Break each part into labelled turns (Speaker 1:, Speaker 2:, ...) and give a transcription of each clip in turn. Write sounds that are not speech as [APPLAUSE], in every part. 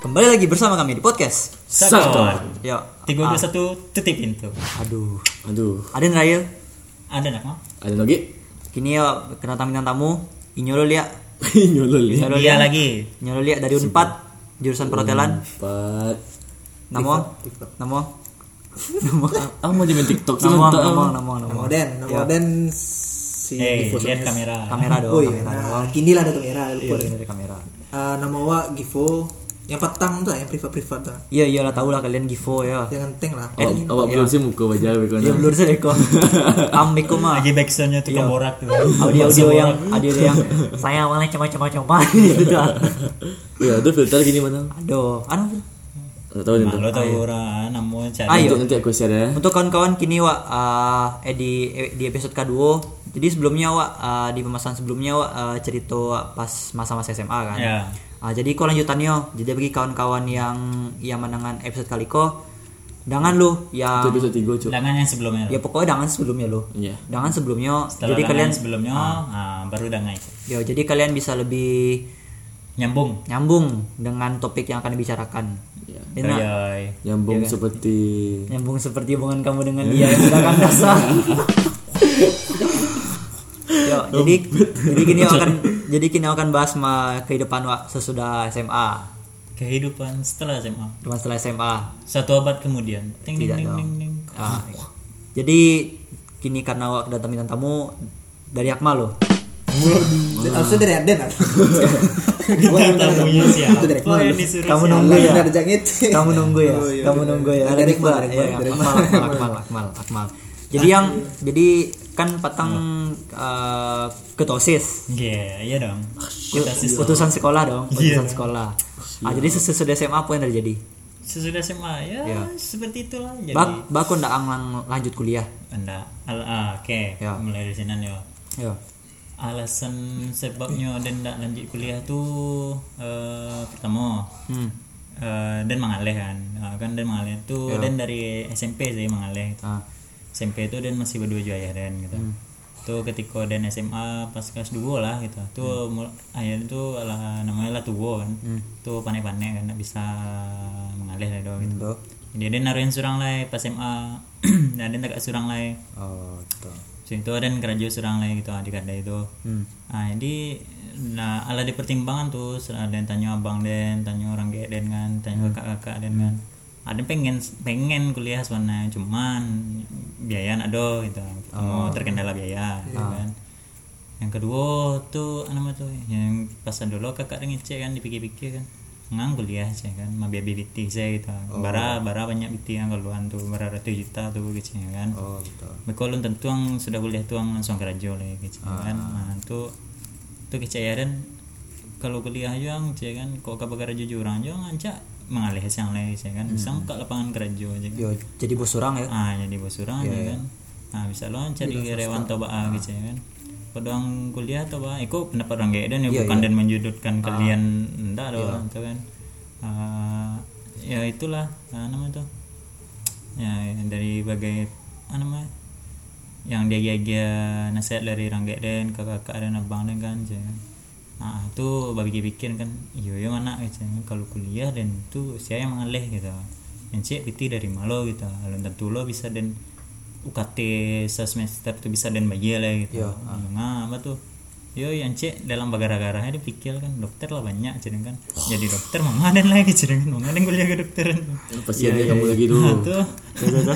Speaker 1: Kembali lagi bersama kami di podcast.
Speaker 2: Sakton.
Speaker 1: Yo.
Speaker 3: tiga
Speaker 1: Ah,
Speaker 3: dua satu tutup pintu
Speaker 1: Aduh.
Speaker 2: Aduh,
Speaker 1: Aden Rail.
Speaker 3: ada nak mau
Speaker 2: ada lagi? [LAUGHS]
Speaker 1: Kini yo kena tamu tamu. Inyolo lia.
Speaker 2: Nyolol ya.
Speaker 1: Inyolo
Speaker 3: dia lagi
Speaker 1: Inyolo lia dari Unpad jurusan
Speaker 2: Hmm.
Speaker 1: perhotelan.
Speaker 2: Empat.
Speaker 1: Namo. Namo. Namo.
Speaker 2: Aku mau jadi TikTok sih. [LAUGHS]
Speaker 1: Namo.
Speaker 2: mantap.
Speaker 1: Namo. Namo. Namo.
Speaker 4: Nama Den, nama
Speaker 1: Iya.
Speaker 4: Den si
Speaker 3: eh
Speaker 4: Givo
Speaker 3: lihat
Speaker 4: Sunes.
Speaker 3: kamera
Speaker 1: Kamera dong.
Speaker 4: Oh iya,
Speaker 1: kamera.
Speaker 4: nah, kini lah ada kamera
Speaker 1: Iya,
Speaker 4: lupa deh.
Speaker 1: dari kamera.
Speaker 4: Eh, nama wa Givo yang petang tuh yang privat-privat tuh.
Speaker 1: Iya iyalah tahu lah kalian Givo ya.
Speaker 4: Yang penting lah.
Speaker 2: Oh, awak belum sih muka wajah gue kan.
Speaker 1: Iya
Speaker 2: [LAUGHS]
Speaker 1: blur sih Eko. Ambeko mah.
Speaker 3: lagi backsoundnya tuh
Speaker 1: Iya.
Speaker 3: borak tuh
Speaker 1: Audio audio
Speaker 3: Borak.
Speaker 1: yang audio yang saya malah cuma cuma cuma [LAUGHS] gitu dah.
Speaker 2: Iya, Ya, ada filter gini mana?
Speaker 1: Aduh, anu aduh.
Speaker 2: Enggak tahu nih.
Speaker 3: Nah, lo tahu orang namun cari
Speaker 1: Ayo.
Speaker 2: Nanti nanti aku share ya.
Speaker 1: Untuk kawan-kawan kini wa uh, eh, di eh, di episode kedua. Jadi sebelumnya wa uh, di pembahasan sebelumnya wa uh, cerita wa pas masa-masa SMA kan.
Speaker 2: Iya.
Speaker 3: Ya.
Speaker 1: Ah, jadi kau lanjutannya. Jadi bagi kawan-kawan yang yang mendengar episode kali ko, jangan lu yang
Speaker 2: Itu episode 3, Cuk.
Speaker 3: Dangan yang sebelumnya
Speaker 1: ya pokoknya jangan sebelumnya lu.
Speaker 2: Iya.
Speaker 1: Jangan sebelumnya.
Speaker 3: setelah
Speaker 1: jadi kalian
Speaker 3: sebelumnya ah, baru dangan itu
Speaker 1: ya jadi kalian bisa lebih
Speaker 3: nyambung
Speaker 1: nyambung dengan topik yang akan dibicarakan.
Speaker 2: Iya.
Speaker 1: Enak.
Speaker 3: Ayoy.
Speaker 2: Nyambung seperti
Speaker 1: Nyambung seperti hubungan kamu dengan dia yang sedang [LAUGHS] kasar. Yo, jadi jadi kini aku akan jadi kini aku akan bahas ma kehidupan wa sesudah SMA.
Speaker 3: kehidupan setelah SMA
Speaker 1: Cuma setelah SMA.
Speaker 3: satu abad kemudian ting ding
Speaker 1: Tidak
Speaker 3: ding
Speaker 1: dong.
Speaker 3: ding ding
Speaker 1: Ah, jadi kini karena wa kedatangan bintang tamu dari Akmal loh.
Speaker 4: Harusnya dari
Speaker 1: [LAUGHS]
Speaker 4: Aden. ah. Wah,
Speaker 3: [LAUGHS] kita tamunya siapa
Speaker 4: Itu dari Akmal.
Speaker 3: yang disuruh
Speaker 1: Kamu
Speaker 3: siapa?
Speaker 1: nunggu ya.
Speaker 4: Dari Jangit.
Speaker 1: Kamu nunggu ya. Kamu nunggu ya. Ada
Speaker 4: Dari
Speaker 1: Iqbal.
Speaker 4: Iqbal,
Speaker 1: Iya,
Speaker 4: dari
Speaker 1: Akmal, Akmal, Akmal, Akmal, Akmal. Jadi yang jadi kan patang eh, ketosis.
Speaker 3: Iya, iya dong
Speaker 1: Ah,
Speaker 3: kita
Speaker 1: Putusan putusan sekolah dong, putusan
Speaker 3: Iya.
Speaker 1: sekolah. Ah, jadi sesudah SMA apa yang terjadi?
Speaker 3: sesudah SMA ya
Speaker 1: Iya.
Speaker 3: seperti itulah jadi
Speaker 1: Bak bakun ndak anglang lanjut kuliah.
Speaker 3: anda al ah, oke
Speaker 1: Ya.
Speaker 3: mulai dari sini yo
Speaker 1: Yo.
Speaker 3: alasan sebabnya dan tidak lanjut kuliah tuh eh, pertama
Speaker 1: Hmm.
Speaker 3: eh, dan mengalih kan Ah, kan dan mengalih tuh dan dari SMP sih mengalih gitu.
Speaker 1: Ya. Ah. Hmm.
Speaker 3: SMP itu dan masih berdua juga ya dan gitu tuh ketika dan SMA pas kelas 2 lah gitu
Speaker 1: Hmm.
Speaker 3: tuh mul- akhirnya tuh lah namanya lah tuwo kan tuh pandai-pandai kan nggak bisa mengalih lah doang gitu
Speaker 1: Tuh.
Speaker 3: jadi ada naruhin surang lai pas SMA [CLEARS THROAT] dan ada tak surang lai
Speaker 1: Oh, gitu.
Speaker 3: So, itu dan kerja serang lain gitu adik ada itu. Nah, jadi nah ala dipertimbangkan tuh ada yang tanya abang dan tanya orang gede dan kan tanya kakak-kakak dan kan ada pengen pengen kuliah sebenarnya cuman biaya ada gitu kita mau terkendala biaya gitu kan yang kedua tuh apa nama tuh yang pasan dulu kakak dengan cek kan dipikir-pikir kan ngang kuliah cek kan mau biaya BBT saya gitu
Speaker 1: Oh.
Speaker 3: bara bara banyak BT yang keluhan tuh bara ratu juta tuh kecilnya kan
Speaker 1: Oh, gitu.
Speaker 3: Bekolun tentu yang sudah kuliah tuang langsung kerja lah gitu
Speaker 1: Ah.
Speaker 3: kan. Nah, itu itu kecayaan ya. kalau kuliah yang cek kan kok kabar kerja jurang yang aja mengalih yang lain cek kan. Bisa buka lapangan kerja aja. Kan.
Speaker 1: Hmm. Yo, jadi bos orang ya.
Speaker 3: Ah, jadi bos jurang ya kan. Nah, bisa lo cari rewan toba ah, gitu ya kan. Padang kuliah toba, iko pendapat orang gede dan ya bukan dan menjudutkan kalian ndak ada orang tuh kan. Ah, ya itulah ah, nama tuh ya dari bagai apa namanya yang dia gaya nasihat dari Ranggek dan kakak-kakak dan abang dan kan je. Nah, tu bagi pikir kan, yo yo mana macam kalau kuliah dan tu saya yang mengalih gitu. Yang cek piti dari malo gitu. Kalau tentu lo bisa dan UKT se semester tu bisa dan bagi lah gitu. Ya, nah, apa tu? Yo yang cek dalam bagara-garanya dia pikir kan dokter lah banyak cereng kan. Jadi dokter mama dan lagi cereng kan. Mama dan kuliah ke dokteran.
Speaker 2: pasiennya kamu lagi dulu.
Speaker 3: [LAUGHS] Nah, tu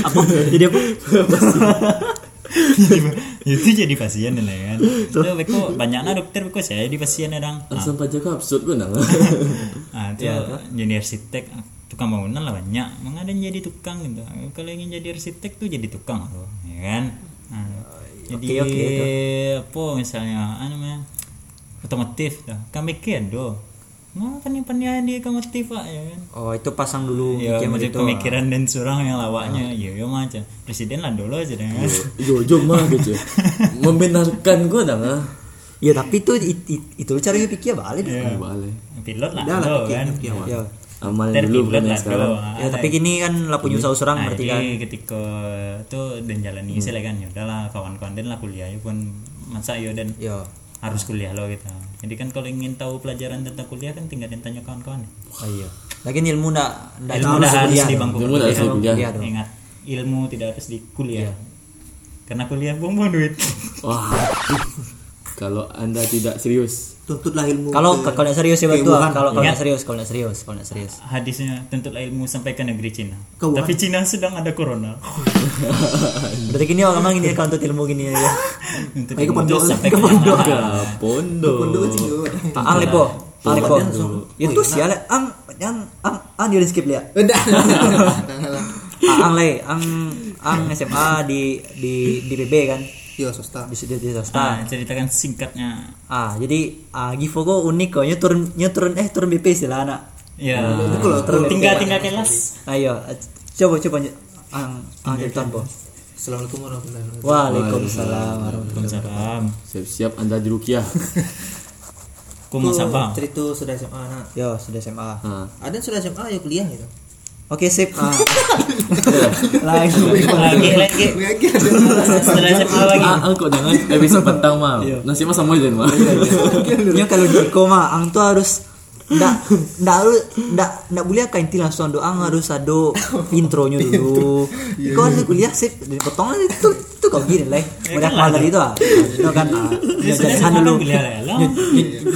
Speaker 1: apa? Jadi apa?
Speaker 3: itu jadi pasien dan lain kan itu beko banyaknya dokter beko saya jadi pasien orang ah
Speaker 2: Langsung pajak absurd gue nang. [LAUGHS]
Speaker 3: ah,
Speaker 1: Iya,
Speaker 3: itu jadi arsitek ah, tukang bangunan lah banyak Emang ada yang jadi tukang gitu kalau ingin jadi arsitek tuh jadi tukang tuh ya kan Ah,
Speaker 1: oke,
Speaker 3: jadi
Speaker 1: oke.
Speaker 3: apa misalnya ah, namanya otomotif tuh kan bikin do Nah, penian-penian dia otomotif pak ya kan
Speaker 1: Oh, itu pasang dulu mikir gitu, ah.
Speaker 3: Ya, macam
Speaker 1: begitu.
Speaker 3: pemikiran dan surang yang lawaknya, ya, ya macam presiden lah dulu aja
Speaker 1: Iya.
Speaker 3: dengan
Speaker 2: Jojo mah gitu. Membenarkan gue nang.
Speaker 1: Ya, tapi itu it- it- itu caranya pikir balik.
Speaker 3: Ya.
Speaker 2: Balik.
Speaker 3: pilot lah, do kan,
Speaker 1: Ya.
Speaker 2: Amal yang
Speaker 3: Ter
Speaker 2: dulu
Speaker 3: pilot
Speaker 2: bukan yang
Speaker 3: lah do.
Speaker 2: sekarang.
Speaker 3: Ah,
Speaker 1: Ya, tapi kini kan lapunya usah orang
Speaker 3: Nah,
Speaker 1: berarti kan.
Speaker 3: jadi ketika tuh dan jalani saya lah kan ya udahlah kawan-kawan dan lah kuliah ya pun masa ya dan
Speaker 1: Yo.
Speaker 3: harus kuliah lo gitu jadi kan kalau ingin tahu pelajaran tentang kuliah kan tinggal tanya kawan-kawan
Speaker 1: oh iya lagi ilmu ndak ndak
Speaker 3: ilmu dah harus di bangku
Speaker 2: Ilmu dah harus di
Speaker 3: kuliah.
Speaker 1: kuliah dong.
Speaker 3: ingat ilmu tidak harus di kuliah karena kuliah buang-buang duit [LAUGHS]
Speaker 2: Wah. [LAUGHS] Kalau Anda tidak serius.
Speaker 4: tuntutlah ilmu
Speaker 1: kalau
Speaker 4: ke- [LAUGHS]
Speaker 1: kalau nggak serius ya betul
Speaker 4: Keibuhan.
Speaker 1: kalau kalau
Speaker 3: Iya.
Speaker 1: nggak serius kalau nggak serius kalau nggak
Speaker 3: [LAUGHS]
Speaker 1: serius
Speaker 3: hadisnya tuntutlah ilmu sampai ke negeri Cina
Speaker 4: Ke Wuhan.
Speaker 3: tapi Cina sedang ada corona
Speaker 1: berarti gini orang emang ini kalau untuk ilmu gini ya
Speaker 3: [LAUGHS] tuntut
Speaker 4: Ayo ke
Speaker 3: ilmu
Speaker 4: pondok,
Speaker 3: itu sampai
Speaker 4: ke
Speaker 3: ke
Speaker 4: pondok.
Speaker 3: Yamaha.
Speaker 2: Ke pondok.
Speaker 4: Pondok juga.
Speaker 1: ang lepo ang lepo
Speaker 4: langsung.
Speaker 1: itu sih ale ang yang
Speaker 4: [LAUGHS]
Speaker 1: ang ang Ah, dia skip lihat [LAUGHS]
Speaker 4: Udah. [LAUGHS]
Speaker 1: Ah, Ang le, ang ang SMA di di di PB kan,
Speaker 4: Yo sosta.
Speaker 1: di di, di
Speaker 3: Ah,
Speaker 1: swasta.
Speaker 3: ceritakan singkatnya
Speaker 1: Ah, jadi ah Givo kok unik kok, nyu turun nyu turun eh turun BP istilah anak.
Speaker 3: ya
Speaker 1: Nah,
Speaker 4: Itu loh, turun
Speaker 3: tinggal
Speaker 4: BP.
Speaker 3: tinggal kelas
Speaker 1: Ayo, Ah, iya. coba coba Nyu. ang ang cerita po.
Speaker 4: Assalamualaikum warahmatullahi wabarakatuh.
Speaker 1: Waalaikumsalam warahmatullahi
Speaker 3: Waalaikumsalam
Speaker 2: Siap-siap Anda dirukiah.
Speaker 1: Oh,
Speaker 3: Ku mau sapa
Speaker 4: Cerita sudah SMA anak.
Speaker 1: wabarakatuh. Yo, sudah SMA.
Speaker 2: Ah.
Speaker 4: Ada yang nah. sudah SMA ayo kuliah gitu.
Speaker 1: Oke, sip. Ah. Lagi.
Speaker 3: lagi lagi Nah,
Speaker 4: [LAUGHS]
Speaker 3: setelah SMA lagi
Speaker 2: Ah, ah, kok jangan episode pertama. Nasib mah sama aja, Mak.
Speaker 1: ya.
Speaker 2: [LAUGHS]
Speaker 1: Nyu kalau di koma, ang tuh harus ndak ndak harus ndak ndak boleh kain inti langsung doang harus ada intronya dulu Iya, kau ada kuliah sih dari potong aja itu itu kau gini lah udah
Speaker 3: kan
Speaker 1: keluar
Speaker 3: lah.
Speaker 1: dari itu ah itu kan ah, nyo
Speaker 3: sudah
Speaker 1: jalihan
Speaker 3: semua
Speaker 1: dulu
Speaker 3: kan kuliah lah, lah.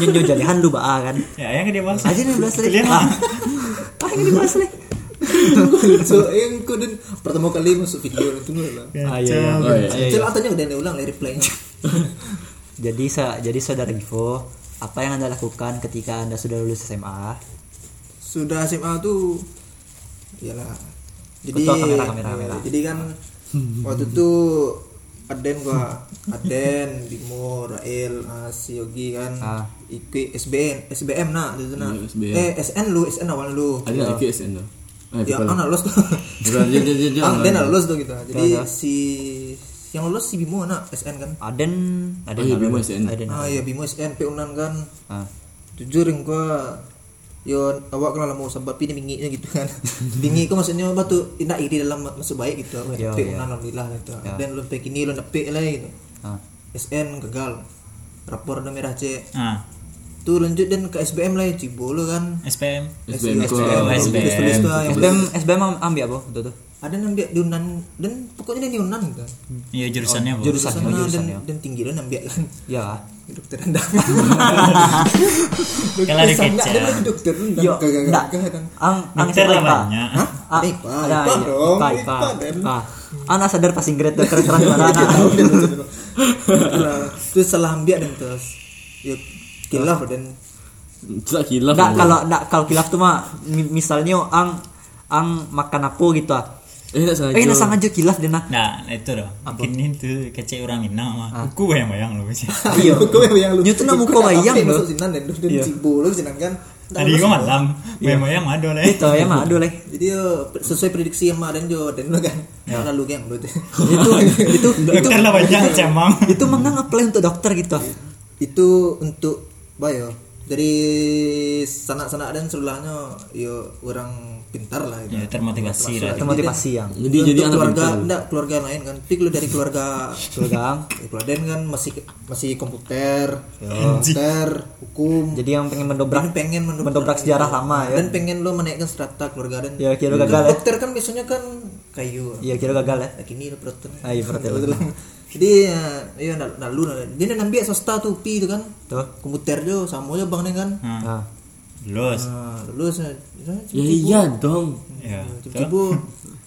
Speaker 1: nyo jalihan dulu bah kan
Speaker 3: ya yang dia bahas
Speaker 1: aja nih belas lagi
Speaker 3: Kuliah
Speaker 1: ah
Speaker 3: lah.
Speaker 1: ah ini belas lagi
Speaker 4: so yang ku dan pertama kali masuk video itu lah.
Speaker 1: Ah,
Speaker 2: Oh, iya.
Speaker 4: Celah tanya udah ulang dari replaynya.
Speaker 1: jadi sa jadi saudara Givo apa yang anda lakukan ketika anda sudah lulus SMA
Speaker 4: [LAUGHS] Sudah SMA tuh iyalah. Jadi
Speaker 1: Ketua kamera, kamera, kamera.
Speaker 4: Jadi kan waktu itu Aden gua, Aden, Bimo, Rael, ah, si Yogi kan.
Speaker 1: Ah.
Speaker 4: Iki SBM, SBM nah, itu nah.
Speaker 2: Iya, SBM.
Speaker 4: Eh, SN lu, SN awal lu.
Speaker 2: Ada nak ikut SN tu? Eh,
Speaker 4: Ya,
Speaker 2: betul.
Speaker 4: kan lolos tuh.
Speaker 2: Betul, dia- dia- dia-
Speaker 4: [LAUGHS]
Speaker 2: dia.
Speaker 4: Ang, dia nak lolos tuh gitu. Jadi
Speaker 1: Ya, ya.
Speaker 4: si yang lolos si Bimo anak SN kan.
Speaker 1: Aden Aden
Speaker 2: Oh, iya,
Speaker 1: apa?
Speaker 2: Bimo iya, SN.
Speaker 1: Aden
Speaker 4: Ah ya Bimo SN P6 kan.
Speaker 1: ah.
Speaker 4: jujur yang gua yo awak kalau mau sebab ini binginya gitu
Speaker 1: [LAUGHS]
Speaker 4: kan bingi kok maksudnya batu tidak iri dalam masuk baik gitu aku
Speaker 1: Yo,
Speaker 4: tapi
Speaker 1: yo. Ya.
Speaker 4: alhamdulillah gitu dan lu pek ini lu nepek lah gitu
Speaker 1: ah.
Speaker 4: SN gagal rapor dan merah C
Speaker 3: ah
Speaker 4: tuh lanjut dan ke SBM lah ya cibolo kan
Speaker 3: SPM
Speaker 2: SBM
Speaker 4: SBM,
Speaker 2: kau.
Speaker 3: SBM.
Speaker 4: tulis-tulis tuh yang
Speaker 1: SBM SBM am- ambil apa betul tuh
Speaker 4: ada nambia di Unan dan pokoknya dia di Unan gitu
Speaker 3: iya jurusannya bu
Speaker 1: jurusan
Speaker 4: sana
Speaker 1: jurusan ya
Speaker 4: dan, dan tinggi lah nambia kan
Speaker 1: ya
Speaker 4: [LAUGHS] dokter rendang
Speaker 3: Kalau ada
Speaker 4: sana
Speaker 3: kecap.
Speaker 4: dan lagi dokter rendang
Speaker 1: yo
Speaker 4: kagak
Speaker 1: enggak
Speaker 4: kagak
Speaker 1: ang ang
Speaker 3: Dokter
Speaker 1: siapa,
Speaker 3: lah
Speaker 1: Ipa?
Speaker 3: banyak.
Speaker 1: Hah? Ah,
Speaker 4: kan. Ipa,
Speaker 1: ada,
Speaker 4: Ipa
Speaker 1: iya.
Speaker 4: dong,
Speaker 1: Ipa,
Speaker 4: Ipa,
Speaker 1: Ipa,
Speaker 4: dan-
Speaker 1: Ipa. anak sadar passing grade dokter terang
Speaker 4: [LAUGHS]
Speaker 1: terang
Speaker 4: terus salah ambil dan terus ya kilaf dan
Speaker 2: Tak hilaf.
Speaker 1: enggak
Speaker 2: tu.
Speaker 1: kalau enggak kalau kilaf tuh mah mi- misalnya ang ang makan apa gitu ah
Speaker 2: eh tak sengaja.
Speaker 1: eh nak sengaja kilaf dia nak
Speaker 3: nah itu dah mungkin itu kece orang Minang
Speaker 1: Ah.
Speaker 3: mah aku bayang bayang
Speaker 1: [LAUGHS]
Speaker 3: loh sih
Speaker 1: Iya.
Speaker 4: [LAUGHS] Kau yang lu
Speaker 1: Dia tuh nak muka bayang
Speaker 4: lu
Speaker 1: loh.
Speaker 4: masuk sinan dan dan
Speaker 1: Iya.
Speaker 4: cibo lu sinan kan
Speaker 3: tadi gua malam bayang bayang ada lah
Speaker 1: itu ya mah aduh leh
Speaker 4: jadi ya, sesuai prediksi yang kemarin jo dan lu kan lalu geng [LAUGHS] lu tuh.
Speaker 1: Ya. itu itu itu
Speaker 3: dokter lah banyak cemang
Speaker 1: itu menang apply untuk dokter gitu ah.
Speaker 4: itu untuk bayo dari sanak-sanak dan sebelahnya yo orang pintar lah itu.
Speaker 3: ya termotivasi lah
Speaker 1: itu motivasi yang
Speaker 2: Jadi
Speaker 4: Untuk
Speaker 2: jadi anak
Speaker 4: keluarga
Speaker 2: pintar.
Speaker 4: enggak keluarga lain kan tapi lu dari keluarga [LAUGHS]
Speaker 1: Keluarga.
Speaker 4: Ya, Peladen kan masih masih komputer, komputer, hukum.
Speaker 1: jadi yang pengen
Speaker 4: Dan
Speaker 1: mendobrak
Speaker 4: pengen mendobrak,
Speaker 1: mendobrak sejarah lama ya
Speaker 4: dan pengen lo menaikkan strata keluarga dan
Speaker 1: Ya, kira gagal ya.
Speaker 4: dokter kan biasanya kan kayu
Speaker 1: iya kira gagal ya
Speaker 4: lagi ini lo protein
Speaker 1: Ah, iya, protein.
Speaker 4: kan. jadi ya, iya nak nak lu nak- dia nak ambil swasta tuh pi itu kan
Speaker 1: tuh
Speaker 4: komputer jo sama aja bang ni kan
Speaker 1: nah
Speaker 3: lulus
Speaker 1: Ah.
Speaker 4: nah, lulus ya,
Speaker 2: Ya iya dong.
Speaker 3: ya
Speaker 4: tiba-tiba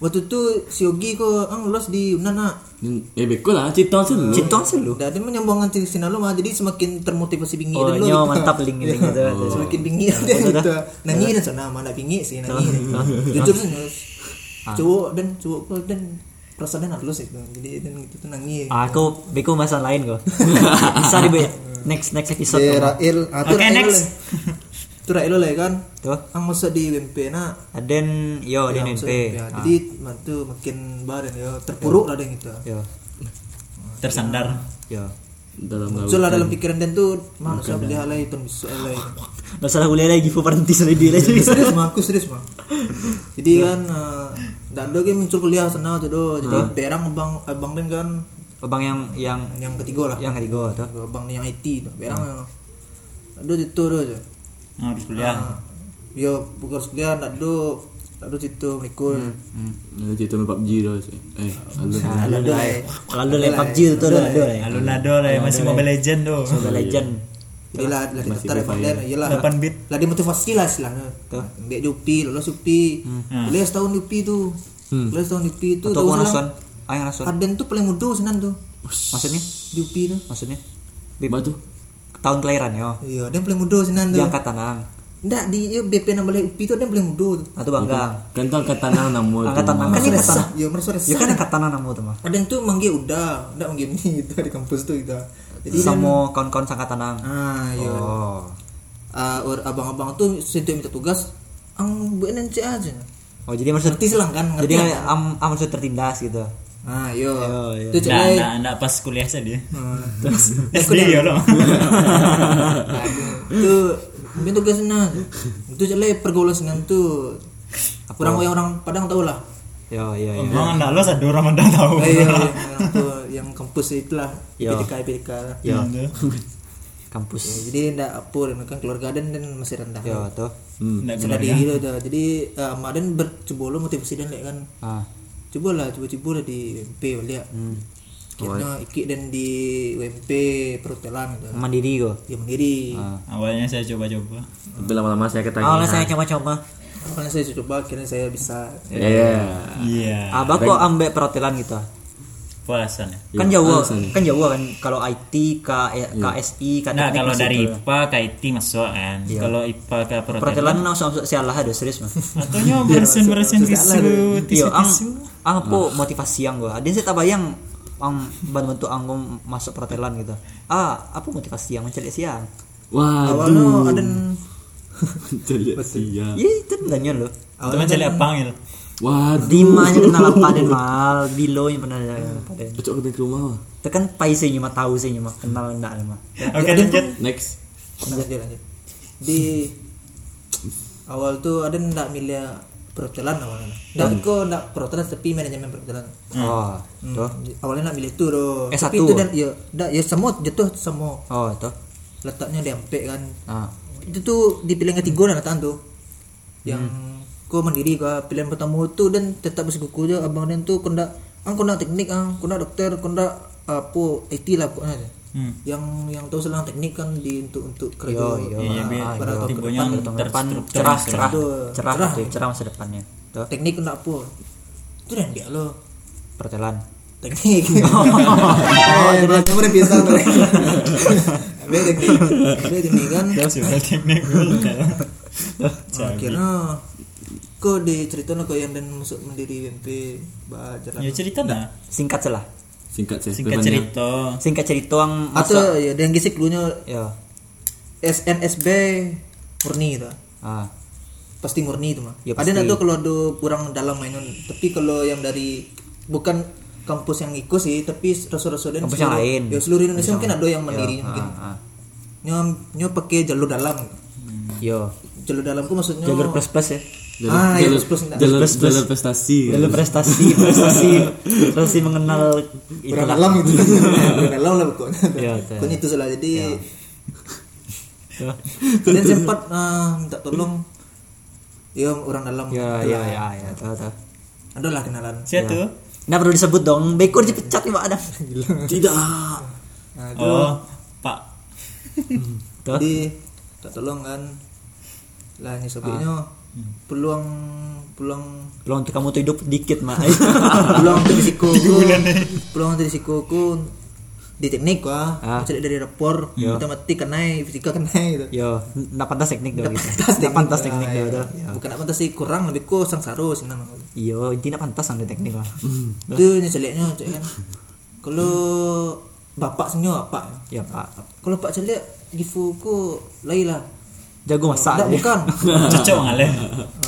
Speaker 4: waktu itu si Yogi kok ang lulus di Unan nak
Speaker 2: Eh bekul lah cerita selalu.
Speaker 1: Cintong sih lu.
Speaker 4: dan dia menyambung nanti sinalo mah jadi semakin termotivasi bingi
Speaker 1: Oh,
Speaker 4: dan lo
Speaker 1: nyo
Speaker 4: gitu.
Speaker 1: mantap link
Speaker 4: [LAUGHS]
Speaker 1: link itu.
Speaker 4: semakin bingi
Speaker 1: Nah,
Speaker 4: dia gitu nanyi dan sana mana bingi sih nanyi
Speaker 1: [LAUGHS]
Speaker 4: jujur sih nus. cowok dan cowok kok dan perasaan dan halus itu jadi dan gitu tuh nanyi
Speaker 1: Ah, aku beko masa lain kok. [LAUGHS] Bisa di next next episode.
Speaker 4: Dia
Speaker 1: kok.
Speaker 4: Rail ah, tu
Speaker 3: Oke,
Speaker 4: Rail
Speaker 3: next.
Speaker 4: lah. tu Rail lah kan
Speaker 1: Tuh.
Speaker 4: ang masuk di WMP nak
Speaker 1: Aden yo
Speaker 4: Ya,
Speaker 1: Aden NP.
Speaker 4: masuk WMP, ah. jadi mak tu makin badan ya terpuruk lah dan gitu
Speaker 1: Yo Ah.
Speaker 3: tersandar
Speaker 1: yo.
Speaker 2: Dalam laut.
Speaker 4: muncul lah dalam pikiran dan tuh manusia beli halai pun bisa halai
Speaker 1: Nggak salah kuliah lagi Fu berhenti sendiri dia
Speaker 4: [LAUGHS]
Speaker 1: lagi.
Speaker 4: Eh, serius mah aku serius mah
Speaker 1: Ya.
Speaker 4: jadi eh, kan eh, dan dia kan muncul kuliah sana tuh do jadi daerah abang abang dan kan
Speaker 1: abang yang yang
Speaker 4: yang ketiga lah
Speaker 1: yang ketiga tuh
Speaker 4: abang yang IT tu berang aduh itu tu je
Speaker 3: Ah, habis
Speaker 1: Ya.
Speaker 3: kuliah.
Speaker 4: Ah, dia bukan sekian nak duduk nak duduk situ mikul
Speaker 1: Hmm.
Speaker 2: Ya, cerita main PUBG dah sih. Eh, alun.
Speaker 1: kalau doi kalau doi PUBG tu tu doi
Speaker 3: Alun Lado lah ya, masih Mobile Legend tu.
Speaker 1: ya. Mobile Legend
Speaker 4: jadi lah lah dia tertarik konten iyalah
Speaker 3: 8 bit.
Speaker 4: lah dia motivasi lah istilahnya ambil di UPI lulus UPI boleh setahun di UPI tu boleh setahun di UPI tu
Speaker 1: Hmm. atau
Speaker 4: tahu
Speaker 1: kau
Speaker 4: selang,
Speaker 1: nasuan ayang nasuan
Speaker 4: Harden tu paling muda senan tu
Speaker 1: maksudnya
Speaker 4: di UPI tu
Speaker 1: maksudnya
Speaker 2: Lepas tu
Speaker 1: tahun kelahiran yo
Speaker 4: iya dia paling muda senan tu
Speaker 1: di angkatan ang
Speaker 4: Nggak, di iya, dia BP nama boleh UPI tu dia paling muda tu
Speaker 1: atau bangga
Speaker 2: kan tu angkatan nang nama tu.
Speaker 1: angkatan ang kan ini angkatan
Speaker 4: ya merasa
Speaker 1: ya
Speaker 4: resah
Speaker 1: kan angkatan ang namu tu mah
Speaker 4: Harden tu manggil udah ndak manggil ni [LAUGHS] gitu di kampus tu gitu jadi kan-
Speaker 1: sama kawan-kawan angkatan ang
Speaker 4: ah iya
Speaker 1: oh
Speaker 3: kan?
Speaker 4: Ah, or- abang-abang tu setiap minta tugas ang buat nanti aja
Speaker 1: oh jadi maksud
Speaker 4: ngerti silang kan ngerti
Speaker 1: jadi Oh, am am maksud tertindas gitu
Speaker 4: ah yo
Speaker 1: yo.
Speaker 4: tu cek eh.
Speaker 3: Nah,
Speaker 4: lain
Speaker 3: nah, nah, pas kuliah saya dia. [LAUGHS]
Speaker 4: Ah,
Speaker 3: SD ya lo.
Speaker 4: tu minta tugas senang tu cek lain pergaulan senang tu
Speaker 1: Oh.
Speaker 4: orang yang orang Padang tau lah
Speaker 1: yo yo yo
Speaker 3: Bang anda lo satu Ramadan tahu.
Speaker 4: Eh, yo, orang tu yang kampus itulah
Speaker 1: Yo.
Speaker 4: PTK PTK lah.
Speaker 1: yo
Speaker 3: Anda.
Speaker 4: Ya,
Speaker 3: Iya,
Speaker 1: kampus
Speaker 4: jadi ndak apa dan kan keluarga dan dan masih rendah
Speaker 1: yo tuh
Speaker 3: Nggak
Speaker 4: Sudah di gitu dah. jadi uh, mak dan bercoba lo motivasi dan lek kan
Speaker 1: ah
Speaker 4: coba lah coba-coba lah di UMP balik hmm. kita ikik dan di UMP perhotelan gitu
Speaker 1: mandiri kok
Speaker 4: dia mandiri
Speaker 3: Awalnya saya coba-coba.
Speaker 2: Tapi lama-lama saya
Speaker 3: Iya.
Speaker 2: ketanya.
Speaker 1: awalnya Oh, saya coba-coba
Speaker 4: makanya saya coba akhirnya saya bisa
Speaker 2: Ya.
Speaker 3: Iya.
Speaker 1: abah Ah, kok ambek perhotelan gitu
Speaker 3: Puasan ya.
Speaker 1: kan Jawa kan Jawa kan kalau IT K KSI kan
Speaker 3: Iya. Nah, kalau dari IPA ke IT masuk kan. Kalau IPA ke perhotelan
Speaker 1: perhotelan langsung masuk sialah ada serius mah
Speaker 3: [LAUGHS] Katanya bersin-bersin tisu,
Speaker 1: Iya, ang
Speaker 3: tisu-tisu.
Speaker 1: ang
Speaker 3: Ah.
Speaker 1: po motivasi yang gua. Adin saya tak bayang ang bantu ang gua masuk perhotelan gitu. Ah, apa motivasi yang mencari siang?
Speaker 2: Waduh.
Speaker 4: awalnya ada
Speaker 2: [LAUGHS] Celik
Speaker 3: Ah.
Speaker 2: siap.
Speaker 1: Iya, itu danyon lo.
Speaker 3: Teman celik panggil.
Speaker 2: Waduh.
Speaker 1: Dimanya kenal apa dan mal, bilo yang pernah ada paden.
Speaker 2: Cocok kita ke rumah. lah. wah.
Speaker 1: Tekan pai saya nyuma tahu saya nyuma kenal ndak ada mah.
Speaker 3: Oke, lanjut.
Speaker 2: Next.
Speaker 4: lanjut dia lanjut di awal tuh ada ndak milih perhotelan awalnya dan kok ndak perhotelan tapi manajemen perhotelan
Speaker 1: Oh, tuh.
Speaker 4: awalnya Hmm. nak milih itu doh
Speaker 1: Eh,
Speaker 4: tapi
Speaker 1: satu.
Speaker 4: itu dan ya ndak ya semua jatuh semua
Speaker 1: Oh, tuh.
Speaker 4: letaknya di UMP kan
Speaker 1: Ah.
Speaker 4: itu tuh di pilihan ketiga dan letaknya tuh yang
Speaker 1: Hmm.
Speaker 4: kau mandiri kau pilihan pertama tuh dan tetap bersikuku aja abang dan tuh kau ndak ang kau ndak teknik ang kau ndak dokter kau ndak apa IT lah pokoknya
Speaker 3: Hmm.
Speaker 4: yang yang tahu selang teknik kan di untuk untuk kerja
Speaker 1: Yo, yo.
Speaker 3: Iya, biar timbulnya
Speaker 1: Depan
Speaker 3: terstruktur.
Speaker 1: cerah, cerah,
Speaker 4: Tuh,
Speaker 1: cerah,
Speaker 4: cerah.
Speaker 1: tuh, cerah masa depannya. Tuh,
Speaker 4: teknik kau ndak apa itu dan dia lah. lo
Speaker 1: perhotelan.
Speaker 4: teknik [LAUGHS] oh jadi kamu udah biasa
Speaker 1: [LAUGHS]
Speaker 4: tuh Ambil teknik Ambil teknik kan
Speaker 3: Terus juga teknik
Speaker 4: akhirnya kau di cerita kau yang dan masuk mandiri UMP belajar
Speaker 1: Iya,
Speaker 3: Ya cerita dah.
Speaker 1: Singkat salah.
Speaker 2: Singkat saya.
Speaker 3: Singkat
Speaker 2: Pepannya.
Speaker 3: cerita.
Speaker 1: Singkat cerita ang masuk.
Speaker 4: atau ya dan gisik dulunya
Speaker 1: Ya.
Speaker 4: SNSB murni gitu
Speaker 1: Ah.
Speaker 4: pasti murni itu mah
Speaker 1: Ya,
Speaker 4: ada
Speaker 1: pasti.
Speaker 4: nggak tuh kalau ada kurang dalam mainan tapi kalau yang dari bukan kampus yang ikut sih tapi rasul-rasul dan
Speaker 1: Kampus yang
Speaker 4: seluruh-
Speaker 1: lain.
Speaker 4: ya seluruh Indonesia mungkin ada yang mandiri mungkin
Speaker 1: Ah.
Speaker 4: nyom nyom pakai jalur dalam
Speaker 1: Yo.
Speaker 4: jalur dalam tuh maksudnya
Speaker 1: Jalur plus plus ya.
Speaker 2: Jalur,
Speaker 4: Ah, iya,
Speaker 2: jalur,
Speaker 4: plus-plus.
Speaker 2: jalur,
Speaker 1: Plus-plus.
Speaker 2: jalur prestasi.
Speaker 4: Iya.
Speaker 1: Jalur prestasi, prestasi, prestasi mengenal
Speaker 4: kurang
Speaker 1: itulah.
Speaker 4: dalam
Speaker 1: [LAUGHS]
Speaker 4: gitu kurang dalam lah pokoknya
Speaker 1: Ya, betul. Iya.
Speaker 4: pokoknya itu salah jadi
Speaker 1: Ya.
Speaker 4: dan sempat eh, minta tolong ya orang dalam
Speaker 1: Ya, ya, ya, ya, tahu tahu.
Speaker 4: ada lah kenalan
Speaker 3: Siapa tuh?
Speaker 1: Nah perlu disebut dong, Bekor dipecat nih Pak Adam.
Speaker 2: Tidak.
Speaker 3: Oh, Pak.
Speaker 1: Tuh.
Speaker 4: jadi tak tolong kan lah
Speaker 1: Ah.
Speaker 4: ini sobeknya peluang peluang
Speaker 1: Peluang untuk kamu tuh hidup dikit mah.
Speaker 4: peluang untuk risiko
Speaker 1: [LAUGHS]
Speaker 4: ku peluang untuk risiko ku di teknik wah
Speaker 1: Ah. Iya.
Speaker 4: cari dari rapor matematik kenai fisika kenai gitu
Speaker 1: Yo, nggak pantas teknik dong. gitu. Nggak
Speaker 4: Pantas teknik.
Speaker 1: pantas teknik
Speaker 4: Ah,
Speaker 1: dong.
Speaker 4: iya.
Speaker 1: tuh.
Speaker 4: bukan apa pantas sih kurang lebih ku sengsara sih nama
Speaker 1: Yo, intinya pantas sama teknik lah.
Speaker 4: itu ini jeleknya cek kan kalau bapak senyum apa
Speaker 1: Ya Pak,
Speaker 4: kalau pak jelek gifu ku lain lah
Speaker 1: jago masak.
Speaker 4: Nggak,
Speaker 1: dia.
Speaker 4: [LAUGHS] bukan
Speaker 3: Cocok ngalahin.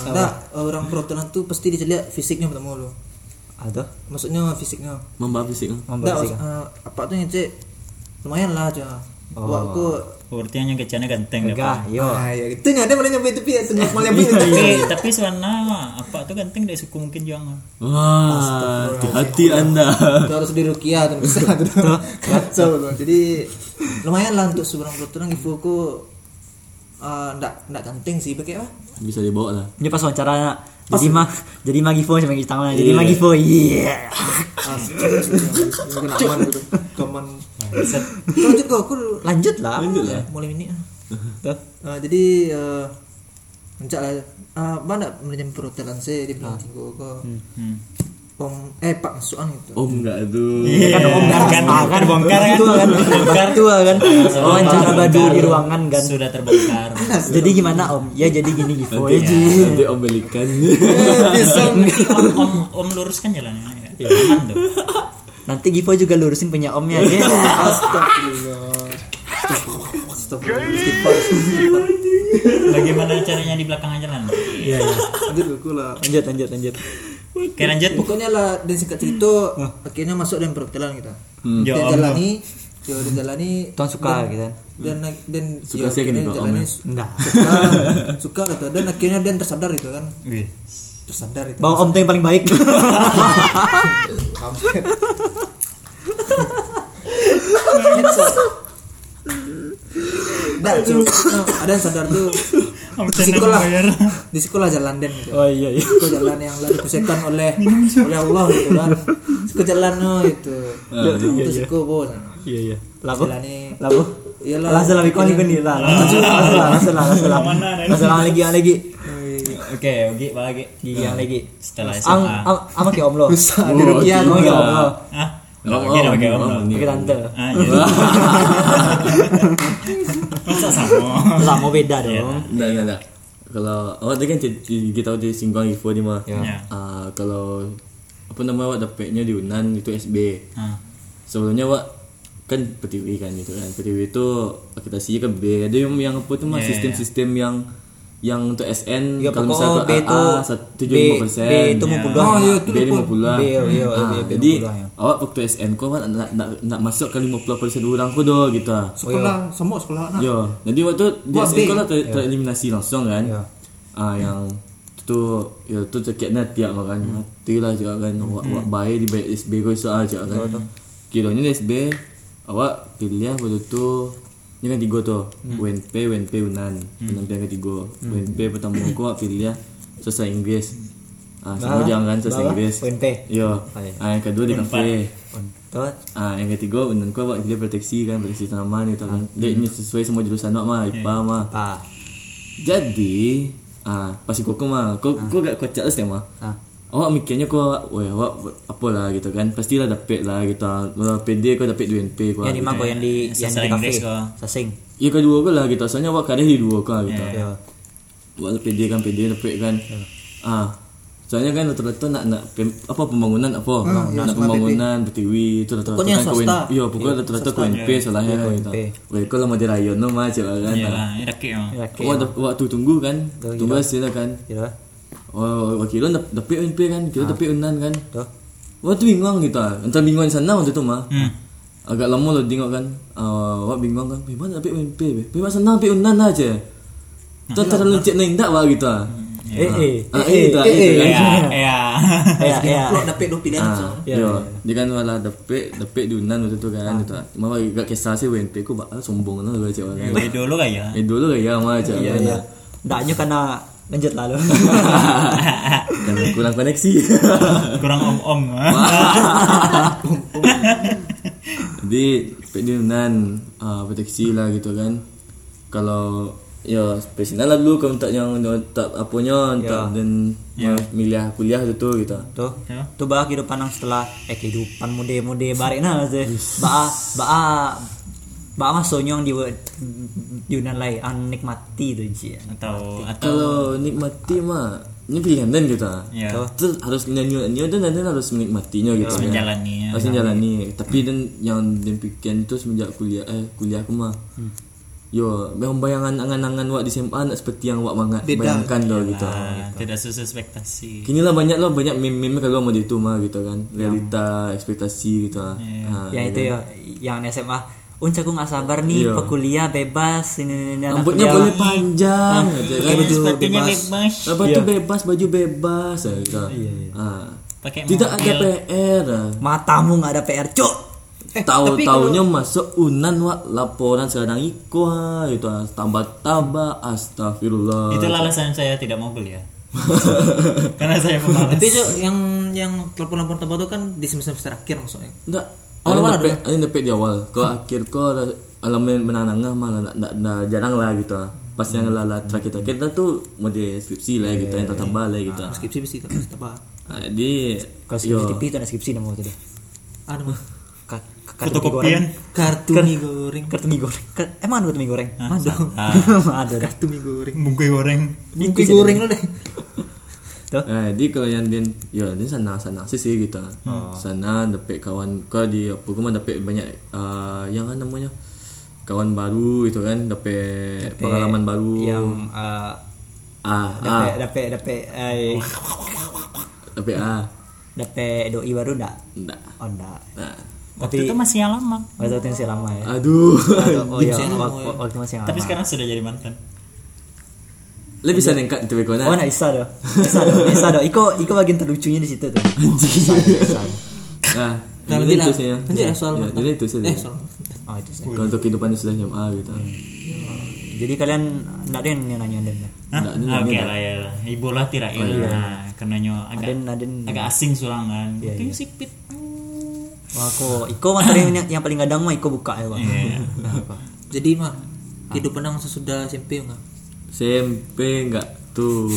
Speaker 4: Nggak, orang perhotelan tuh pasti dijelek fisiknya pertama lo
Speaker 1: Aduh,
Speaker 4: maksudnya fisiknya
Speaker 2: Membawa fisik.
Speaker 4: Nggak,
Speaker 1: membersihkan.
Speaker 4: maksud- eh, apa tuh yang cek lumayan lah aja Wah, aku
Speaker 3: Urtiannya kecana ganteng
Speaker 2: Iya,
Speaker 3: deh. Pak.
Speaker 1: Gah, yo.
Speaker 4: ah ya itu nyata mana nyampe tepi ya tengah malam [LAUGHS] itu.
Speaker 3: Tapi Eh, tapi suana apa tuh ganteng dari suku mungkin jangan.
Speaker 2: Wah, hati-hati Anda. [LAUGHS]
Speaker 4: Itu harus di Rukia tuh bisa tuh. Kacau tuh. Jadi lumayan lah untuk seorang peraturan Gifu aku eh, ndak ndak ganteng sih pakai apa?
Speaker 2: Bisa dibawa lah.
Speaker 1: Ini pas wawancara nak. Jadi mah jadi mah Givo sama kita mana. Jadi mah Givo. Iya.
Speaker 4: Mungkin aman gitu. Kaman. Lanjut kok aku
Speaker 1: Lanjut lah.
Speaker 2: Lanjut lah.
Speaker 4: mulai ini ah.
Speaker 1: Tuh.
Speaker 4: Ah, jadi eh mencak lah ah, mana menyem perhotelan saya di lah,
Speaker 2: Ah.
Speaker 4: bilang tinggal ke
Speaker 3: Hmm.
Speaker 4: om eh pak suan itu
Speaker 2: Om enggak tuh.
Speaker 1: Kan om kan
Speaker 3: Kan kan bongkar kan.
Speaker 1: tua kan.
Speaker 3: Bongkar.
Speaker 1: Tua kan. Wawancara badu di ruangan kan.
Speaker 3: Sudah terbongkar.
Speaker 1: Jadi gimana om? Ya jadi gini Givo. Ya, Ji.
Speaker 2: Nanti om belikan.
Speaker 3: Om om om luruskan jalannya. ya. Aman tuh.
Speaker 1: Nanti Givo juga lurusin punya omnya [LAUGHS] ya.
Speaker 4: astagfirullah astagfirullah istighfar
Speaker 3: Bagaimana caranya di belakang jalan?
Speaker 4: lanjut aku lah
Speaker 1: Lanjut lanjut lanjut.
Speaker 3: Oke lanjut.
Speaker 1: Iya.
Speaker 4: pokoknya lah dan singkat cerita
Speaker 2: Ah.
Speaker 4: akhirnya masuk dan perhotelan kita
Speaker 3: Ya
Speaker 2: Hmm.
Speaker 4: dia
Speaker 3: Allah.
Speaker 4: jalani dia udah jalani
Speaker 1: Tuan suka gitu kan.
Speaker 4: dan naik- dan ya,
Speaker 2: Suka sih
Speaker 4: akhirnya
Speaker 2: gini kok,
Speaker 4: jalani
Speaker 2: Om,
Speaker 4: su-
Speaker 1: Nah.
Speaker 4: suka [LAUGHS] suka gitu dan akhirnya dan tersadar gitu kan
Speaker 3: Wih.
Speaker 4: tersadar itu
Speaker 1: Bawa om tuh yang paling [LAUGHS] baik.
Speaker 4: Nah, cu- nah, ada yang sadar tuh
Speaker 3: Om
Speaker 4: di
Speaker 3: Chandra
Speaker 4: sekolah
Speaker 3: bayar.
Speaker 4: di sekolah jalan den gitu
Speaker 1: Oh iya iya.
Speaker 4: ke jalan yang lalu dipesekan oleh oleh Allah gitu kan ke jalan no gitu terus ke bon
Speaker 1: [LAUGHS] Iya iya. Labu.
Speaker 4: jalani
Speaker 1: Labu.
Speaker 4: Iyalah.
Speaker 1: Langsung lebih konik nih lah. Langsung langsung langsung langsung
Speaker 3: Mana ada?
Speaker 1: langsung lagi yang lagi
Speaker 3: Oke, Ogi, balik.
Speaker 1: gigi yang lagi.
Speaker 3: Setelah
Speaker 1: Ang
Speaker 3: SMA.
Speaker 1: am- ama kayak Iya. om lo.
Speaker 4: Rusak
Speaker 1: Di Rukia
Speaker 2: Oh,
Speaker 1: kamu kayak om
Speaker 2: tidak.
Speaker 1: lo.
Speaker 3: Ah.
Speaker 2: Om,
Speaker 3: Oke,
Speaker 2: om,
Speaker 3: oke, om.
Speaker 2: om,
Speaker 1: Pakai
Speaker 2: om.
Speaker 1: tante.
Speaker 3: Ah, iya. Masa sama?
Speaker 1: Lah mau beda dong.
Speaker 2: Enggak, enggak, enggak. Kalau oh tadi kan c- c- kita udah singgung info di mah.
Speaker 3: Ya.
Speaker 2: Ah, kalau apa namanya wak dapetnya di Unan itu SB.
Speaker 3: Ah.
Speaker 2: Sebelumnya wak kan petiwi kan gitu kan. Petiwi itu kita sih ke B. Ada yang yang apa tuh mah
Speaker 3: Ya, ya,
Speaker 2: sistem-sistem yang yang untuk SN
Speaker 1: Ya
Speaker 2: kalau
Speaker 1: pokoknya
Speaker 2: misalnya
Speaker 1: B itu
Speaker 2: tujuh
Speaker 1: B-
Speaker 2: lima persen.
Speaker 1: B itu mau puluh.
Speaker 2: Oh,
Speaker 1: iya,
Speaker 2: iya, B lima puluh.
Speaker 1: B, iya, iya,
Speaker 2: Ah,
Speaker 1: B- B
Speaker 2: jadi
Speaker 1: 50, ya.
Speaker 2: awak waktu SN kok awak nak, nak, nak masuk ke lima puluh persen orang kok doh gitu.
Speaker 4: sekolah semua sekolah nah
Speaker 2: Yo, Ya, jadi waktu di
Speaker 4: Buat
Speaker 2: SN
Speaker 4: B.
Speaker 2: kau lah ter- tereliminasi langsung kan.
Speaker 1: Ya.
Speaker 2: Ah yang tu ya tu ceketnya tiap makan mati lah cakap kan awak awak baik di baik SB kau soal cakap kan. Kiranya di SB awak pilih lah waktu tu ni kan tiga tu. UNP, UNP Unan. Penampilan ketiga. UNP pertama kau awak pilih lah sastra Inggeris. Ah semua jangan
Speaker 1: bawah,
Speaker 2: sastra Inggeris.
Speaker 1: UNP.
Speaker 2: Yo.
Speaker 1: Baik.
Speaker 2: Ah yang kedua di kafe.
Speaker 1: Tuh.
Speaker 2: Ah, yang ketiga undang kau buat dia proteksi kan, proteksi tanaman gitu kan. Dia ini sesuai semua jurusan nak mah, IPA mah.
Speaker 1: Hmm. Ah.
Speaker 2: Jadi, ah pasti kau mah, kau kau gak kocak lah mah.
Speaker 1: Ah.
Speaker 2: Awak mikirnya kau, weh awak apalah gitu kan. Pastilah dapat lah gitu. Kalau PD kau dapat 2 NP kau.
Speaker 1: Yang di
Speaker 2: Gitu.
Speaker 1: mana yang di
Speaker 3: Sastra
Speaker 1: yang di kafe?
Speaker 3: Inggris kau.
Speaker 1: Sasing.
Speaker 2: Ya kedua kau lah gitu. Soalnya awak kadang di dua lah kau gitu.
Speaker 1: Ya.
Speaker 2: Buat PD kan PD dapat kan. Ah. Soalnya kan rata-rata nak nak pem- apa pembangunan apa nak pembangunan petiwi itu rata-rata
Speaker 4: Pokoknya
Speaker 2: kau
Speaker 4: swasta.
Speaker 2: Iya, pokoknya rata-rata kau NP salahnya kan gitu. Weh kau lama di rayon no mah cakap kan.
Speaker 3: Iyalah, ini oh. rakit mah.
Speaker 1: Oke.
Speaker 2: Awak dah- waktu tunggu kan. Tunggu hasil lah kan.
Speaker 1: Gitu.
Speaker 2: Oh, oh, kira dap- dapat NP kan, kira dapat unan kan.
Speaker 1: Tuh.
Speaker 2: Wah tu bingung gitu ah. Entah bingung di sana waktu tu mah.
Speaker 3: Hmm.
Speaker 2: Agak lama lah tengok kan. Ah, wah bingung kan. Memang dapat NP be. Memang senang dapat unan aja. Tu terlalu cek naik dak wah gitu ah.
Speaker 1: Eh eh.
Speaker 2: Ah, eh, itu, ah, itu kan.
Speaker 1: Iya.
Speaker 3: Ya, ya.
Speaker 1: Ya ya.
Speaker 4: kalau dapat dua pilihan so.
Speaker 2: Ya, dia kan malah dapet dapet di unan waktu tu kan gitu. ah. Mama gak kisah sih WNP ku bakal sombong lah gua cek orang.
Speaker 3: Dari Iya. dulu kayak.
Speaker 2: Eh dulu ya mah cek.
Speaker 1: Iya
Speaker 2: orang.
Speaker 1: iya. Ndaknya karena lanjut lalu.
Speaker 2: [LAUGHS]
Speaker 1: [LAUGHS]
Speaker 2: Dan kurang koneksi. [LAUGHS]
Speaker 3: Kurang om-om.
Speaker 2: Jadi perdiunan uh, proteksi lah gitu kan. Kalau ya personal lah dulu kalau tak yang tak apanya tak dan yeah. milih kuliah tu tu gitu.
Speaker 1: Tuh.
Speaker 3: Ya.
Speaker 1: Tuh bah kehidupan yang setelah eh kehidupan muda-muda barek nah sih. Ba ba ba mah sonyong di di unan lain an nikmati tu ji.
Speaker 3: Atau atau
Speaker 2: Kalau nikmati mah ini pilihan dan gitu.
Speaker 3: ya.
Speaker 2: Terus harus nyanyi-nyanyi dan dan harus menikmatinya gitu. kan.
Speaker 3: Menjalani.
Speaker 2: Masih jalani Tapi dan yang dan pikiran tu semenjak kuliah eh kuliah aku mah.
Speaker 3: Hmm.
Speaker 2: Yo, memang bayangan angan-angan wak di SMA nak seperti yang wak mangat bayangkan lo gitu.
Speaker 3: Ah, Tidak sesuai ekspektasi.
Speaker 2: Kini lah banyak lah banyak meme-meme kalau mau di Ya. itu mah gitu kan realita ekspektasi gitu lah.
Speaker 1: ya,
Speaker 2: Ha,
Speaker 1: Yang itu ya yang SMA Unca aku nggak sabar nih,
Speaker 2: Iya.
Speaker 1: perkuliah bebas ini ini, ini anak
Speaker 2: Rambutnya
Speaker 1: kuliah."
Speaker 2: boleh panjang aja kan.
Speaker 3: Iya, sepatunya
Speaker 4: bebas.
Speaker 3: bebas.
Speaker 2: Apa tuh bebas, baju bebas ya, kita. Ah.
Speaker 3: Pakai
Speaker 2: Tidak ada
Speaker 3: mobil.
Speaker 2: PR. ah.
Speaker 1: Matamu nggak ada PR, cok.
Speaker 2: tahu tahunya masuk unan wa laporan sekarang iko ah, itu ah. tambah tambah astagfirullah
Speaker 3: Itulah alasan saya tidak mau kuliah. Karena saya pemalas.
Speaker 4: Tapi itu yang yang telepon-telepon tempat itu kan di semester-semester akhir maksudnya.
Speaker 2: enggak
Speaker 4: Awal
Speaker 2: awal
Speaker 4: mana
Speaker 2: ada Oh, ini dapat di awal ke akhir ke alamin menanangah malah nak nak nak jarang lah gitu ah. pas yang lala terakhir terakhir kita tuh mau di skripsi lah gitu yang tambah lah gitu ah.
Speaker 4: Skripsi mesti tetap tetap.
Speaker 2: Ah, jadi
Speaker 1: Kalau
Speaker 2: yo,
Speaker 1: skripsi TV itu ada skripsi nama tadi.
Speaker 4: Ada Anu mah.
Speaker 1: Ka- ka- kartu mie goreng.
Speaker 3: Fotokopian.
Speaker 4: Kartu mie goreng.
Speaker 1: Kartu mie goreng. Ka- Emang ada kartu mie goreng? Ada. [LAUGHS] Ada dah.
Speaker 4: Kartu mie goreng.
Speaker 3: Bungkus goreng.
Speaker 4: Mie goreng lo deh.
Speaker 2: ah, jadi kalau yang din ya din sana sana sih sih gitu ah. sana dapat kawan ke di apa kau mah dapat banyak ah, yang kan namanya kawan baru itu kan dapat pengalaman baru
Speaker 1: Yang eh,
Speaker 2: Ah, ah,
Speaker 1: dapet dapet dapet eh,
Speaker 2: tapi ah,
Speaker 1: dapet doi baru enggak?
Speaker 2: enggak.
Speaker 1: Oh enggak.
Speaker 2: Nah.
Speaker 3: Eh.
Speaker 1: Tapi
Speaker 3: Itu masih yang lama.
Speaker 1: waktu itu masih lama ya.
Speaker 2: Aduh.
Speaker 1: Oh
Speaker 2: [LAUGHS]
Speaker 1: iya, waktu, waktu masih lama.
Speaker 3: Tapi sekarang sudah jadi mantan.
Speaker 2: Lebih bisa nengkat itu kau
Speaker 1: Oh, nah bisa doh. Bisa doh, bisa doh. Iko Iko bagian terlucunya di situ tuh. Bisa, bisa.
Speaker 4: [LAUGHS]
Speaker 2: Nah,
Speaker 4: Nah,
Speaker 2: jadi
Speaker 4: nanti lah.
Speaker 2: itu sih ya.
Speaker 4: Nanti lah soal
Speaker 2: Ya,
Speaker 4: mata.
Speaker 2: Jadi itu sih.
Speaker 4: Eh, soal.
Speaker 1: Oh, itu sih.
Speaker 2: Kalau untuk kehidupan sudah SMA gitu.
Speaker 1: Jadi kalian enggak ada yang nanya Aden. ya?
Speaker 3: Hah?
Speaker 2: Nggak, ini
Speaker 3: Ah, Oke
Speaker 2: nggak.
Speaker 3: lah ya. lah. Ibu lah tirail. Nah, karena nyo agak
Speaker 1: Aden Aden.
Speaker 3: agak asing sulangan. Itu
Speaker 1: iya.
Speaker 3: sipit.
Speaker 1: Wah, aku Iko mah sering yang, yang paling gadang mah Iko buka ya, Pak.
Speaker 3: Iya.
Speaker 1: Nah, apa?
Speaker 4: Jadi mah kehidupan yang sesudah SMP ya, enggak?
Speaker 2: SMP enggak tuh.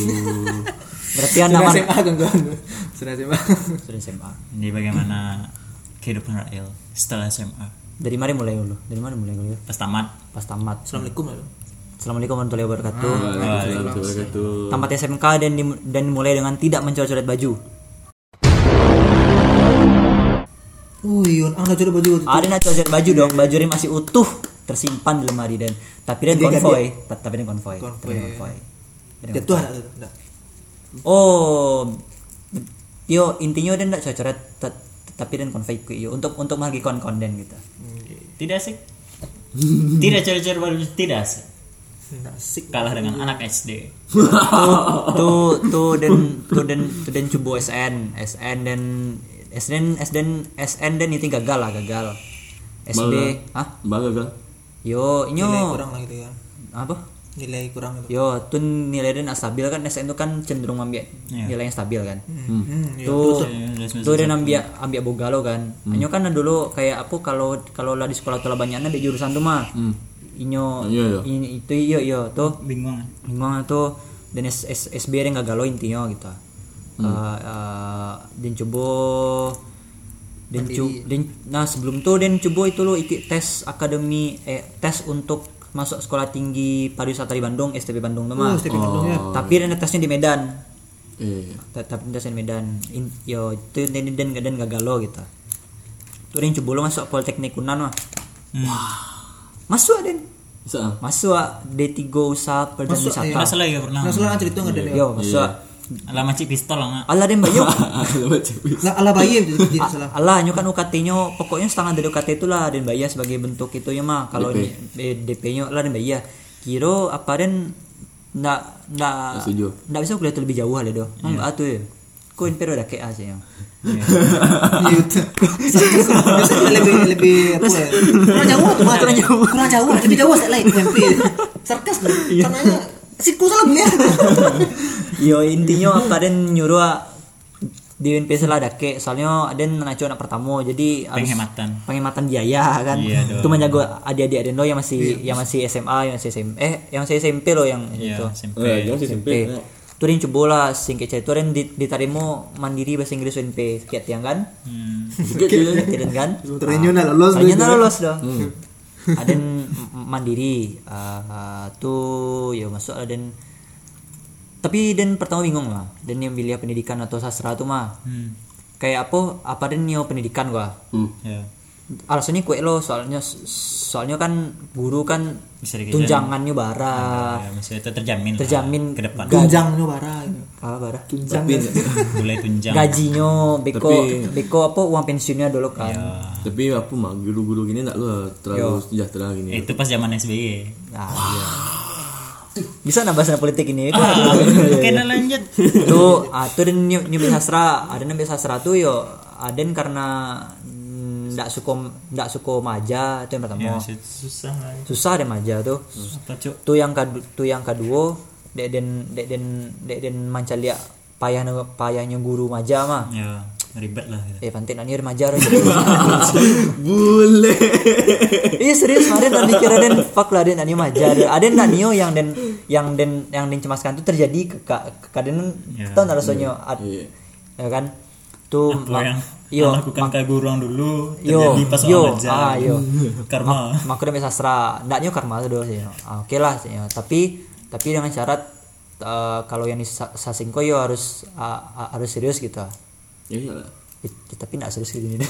Speaker 4: [LAUGHS]
Speaker 1: Berarti Anda mah
Speaker 4: kan kan. Sudah SMA.
Speaker 1: sudah SMA.
Speaker 3: Ini bagaimana kehidupan Rael setelah SMA
Speaker 1: Dari mana mulai dulu? Dari mana mulai dulu?
Speaker 3: pas tamat
Speaker 1: Pas tamat.
Speaker 4: Assalamualaikum lah.
Speaker 1: Assalamualaikum warahmatullahi wabarakatuh.
Speaker 2: Waalaikumsalam wabarakatuh.
Speaker 1: Tamat SMK dan dim- dan mulai dengan tidak mencoret-coret baju.
Speaker 4: Uh, Yun, ang najudo baju waktu itu.
Speaker 1: Ada nak coret baju dong, baju dia masih utuh tersimpan di lemari dan tapi dia konvoy, Ta- tapi dia konvoy, tapi dia konvoy.
Speaker 4: Ya tuh ada ada.
Speaker 1: Oh, yo intinya dia ndak coret-coret tet- tapi dan konvoy ku yo untuk untuk menghargai kon-kon dan gitu.
Speaker 3: tidak asik tidak cari-cari baru tidak asik
Speaker 4: Asik.
Speaker 3: kalah dengan anak
Speaker 1: [LAUGHS]
Speaker 3: SD
Speaker 1: tuh tuh dan tuh dan tuh dan cubo SN SN dan SN SN SN dan itu gagal lah gagal SD ah
Speaker 2: Bangga kan?
Speaker 1: yo
Speaker 4: Nilai
Speaker 1: inyo
Speaker 4: kurang lah gitu kan.
Speaker 1: apa
Speaker 4: Nilai kurang itu.
Speaker 1: Oh. yo tuh nilai dan stabil kan SN itu kan cenderung ambil
Speaker 3: Iya.
Speaker 1: nilai yang stabil kan
Speaker 4: Hmm, iya.
Speaker 1: tuh
Speaker 3: Iya, semester
Speaker 1: tuh dan ambil ambil bogalo kan inyo kan dulu kayak apa kalau kalau lah di sekolah tuh lah banyaknya di jurusan tuh mah inyo
Speaker 2: Iya, iya.
Speaker 1: in- itu iyo iyo tuh
Speaker 3: bingung kan?
Speaker 1: memang tuh dan S, S, SBR yang gak galau intinya gitu Eh, eh, dan coba dan cu- dan- nah sebelum tuh dan coba itu lo ikut tes akademi eh, tes untuk masuk sekolah tinggi pariwisata di Bandung STP Bandung tuh mah tapi dan tesnya di Medan
Speaker 2: Eh,
Speaker 1: Ta- tapi tesnya di Medan In- yo itu dan dan dan gak galau gitu tuh dan coba lo masuk Politeknik Unan mah
Speaker 3: Hmm.
Speaker 1: masuk dan
Speaker 2: bisa [LAUGHS] ah.
Speaker 1: masuk ah, D3 usaha perjalanan wisata
Speaker 3: Masalah ya pernah.
Speaker 4: Nah, soalnya cerita enggak ada. Leo.
Speaker 1: yo masuk ah.
Speaker 3: Lama cik pistol lah.
Speaker 1: Allah deh banyak.
Speaker 2: Alamat cewek.
Speaker 4: Lah ala bayi itu jadi salah.
Speaker 1: Allah nyo kan UKT nyo pokoknya setengah dari UKT itulah dan bayar sebagai bentuk itunya mah kalau eh,
Speaker 2: DP.
Speaker 1: DP, DP nyo lah dan bayar. Kiro apa dan ndak ndak
Speaker 2: setuju.
Speaker 1: ndak bisa kuliah tu lebih jauh lah doh. Mang yeah. atuh. Kau impero dah kayak aja yang.
Speaker 4: Iya. [LAUGHS] Biasanya lebih lebih apa ya? Kurang jauh tuh, mah. kurang jauh. Kurang jauh, lebih jauh saya lain UMP. Sarkas loh. Caranya siku salah [LAUGHS] bener.
Speaker 1: Yo intinya apa dan nyuruh ah, di UNP lah ada kek soalnya ada anak cowok anak pertama jadi harus-
Speaker 3: Penghematan.
Speaker 1: penghematan biaya kan
Speaker 3: Iya
Speaker 1: itu menjaga adik-adik Aden lo yang masih yang masih SMA yang masih SM, eh yang masih SMP lo yang
Speaker 3: Iya,
Speaker 1: itu
Speaker 2: Eh,
Speaker 3: SMP.
Speaker 2: jangan sih
Speaker 1: SMP.
Speaker 2: SMP.
Speaker 1: Turin coba lah singkat cerita turin ditarimo mandiri bahasa Inggris UNP sekian tiang kan?
Speaker 3: Hmm.
Speaker 2: Sikit je.
Speaker 1: Tiang kan?
Speaker 4: Trennya nah lolos.
Speaker 1: Soalnya ntar lolos dah.
Speaker 3: Hmm.
Speaker 1: Ada yang m- mandiri ah, ah, tuh ya masuk ada yang- tapi dan pertama bingung lah dan yang pilih pendidikan atau sastra tuh mah
Speaker 3: Hmm.
Speaker 1: kayak apa apa dan yang pendidikan gua
Speaker 2: Hmm.
Speaker 3: Ya.
Speaker 1: alasannya kue lo soalnya soalnya kan guru kan
Speaker 3: Bisa dikejar.
Speaker 1: tunjangannya bara
Speaker 3: Ya, maksudnya itu terjamin. lah
Speaker 1: Terjamin.
Speaker 3: ke depan.
Speaker 1: Gak-
Speaker 4: Gunjang nyo bara.
Speaker 1: ah barah
Speaker 4: tunjang
Speaker 2: tapi
Speaker 3: boleh tunjang
Speaker 1: gajinya beko
Speaker 2: Tapi-
Speaker 1: beko apa uang pensiunnya dulu kan
Speaker 2: tapi apa mah guru-guru gini tak lah terlalu sejahtera gini
Speaker 3: Ya,
Speaker 4: Eh.
Speaker 3: itu pas zaman
Speaker 1: [LAUGHS]
Speaker 3: SBY
Speaker 1: Nah, iya. bisa nambah bahasan politik ini itu iya.
Speaker 3: oke nah
Speaker 1: [LAUGHS]
Speaker 3: lanjut
Speaker 1: tuh atur nyu nyubi sastra ada nyubi sastra tuh yo aden karena mm, ndak suko ndak suko maja itu yang pertama
Speaker 3: ya, su- susah lah
Speaker 1: susah deh maja tuh
Speaker 3: apa cuk
Speaker 1: tuh yang kadu tuh yang kedua dek den dek den dek den mancalia payah payahnya guru maja mah
Speaker 3: ya ribet lah gitu.
Speaker 1: eh pantai nani remaja
Speaker 2: [LAUGHS]
Speaker 1: orang.
Speaker 2: boleh
Speaker 1: Iya serius kemarin dan dikira den fuck lah den anime aja ada nak nio yang den yang den yang den cemaskan tuh terjadi ke ke kaden
Speaker 3: Ya.
Speaker 1: tau nggak rasanya Ad-
Speaker 2: Iya.
Speaker 1: ya kan tuh
Speaker 3: apa
Speaker 1: ma-
Speaker 3: yang
Speaker 1: yo
Speaker 3: lakukan ke gurung dulu
Speaker 1: yo
Speaker 3: terjadi pas
Speaker 1: yo
Speaker 3: awal aja
Speaker 1: ah yo
Speaker 3: [LAUGHS] karma
Speaker 1: maku demi sastra ndak nio karma tuh doang sih no. Ah, oke lah sih, no. tapi tapi dengan syarat eh, kalau yang di sa- sasingko yo harus ah, ah, harus serius gitu ah.
Speaker 2: ya iyalah
Speaker 1: Eh, tapi nggak serius gitu nih [LAUGHS]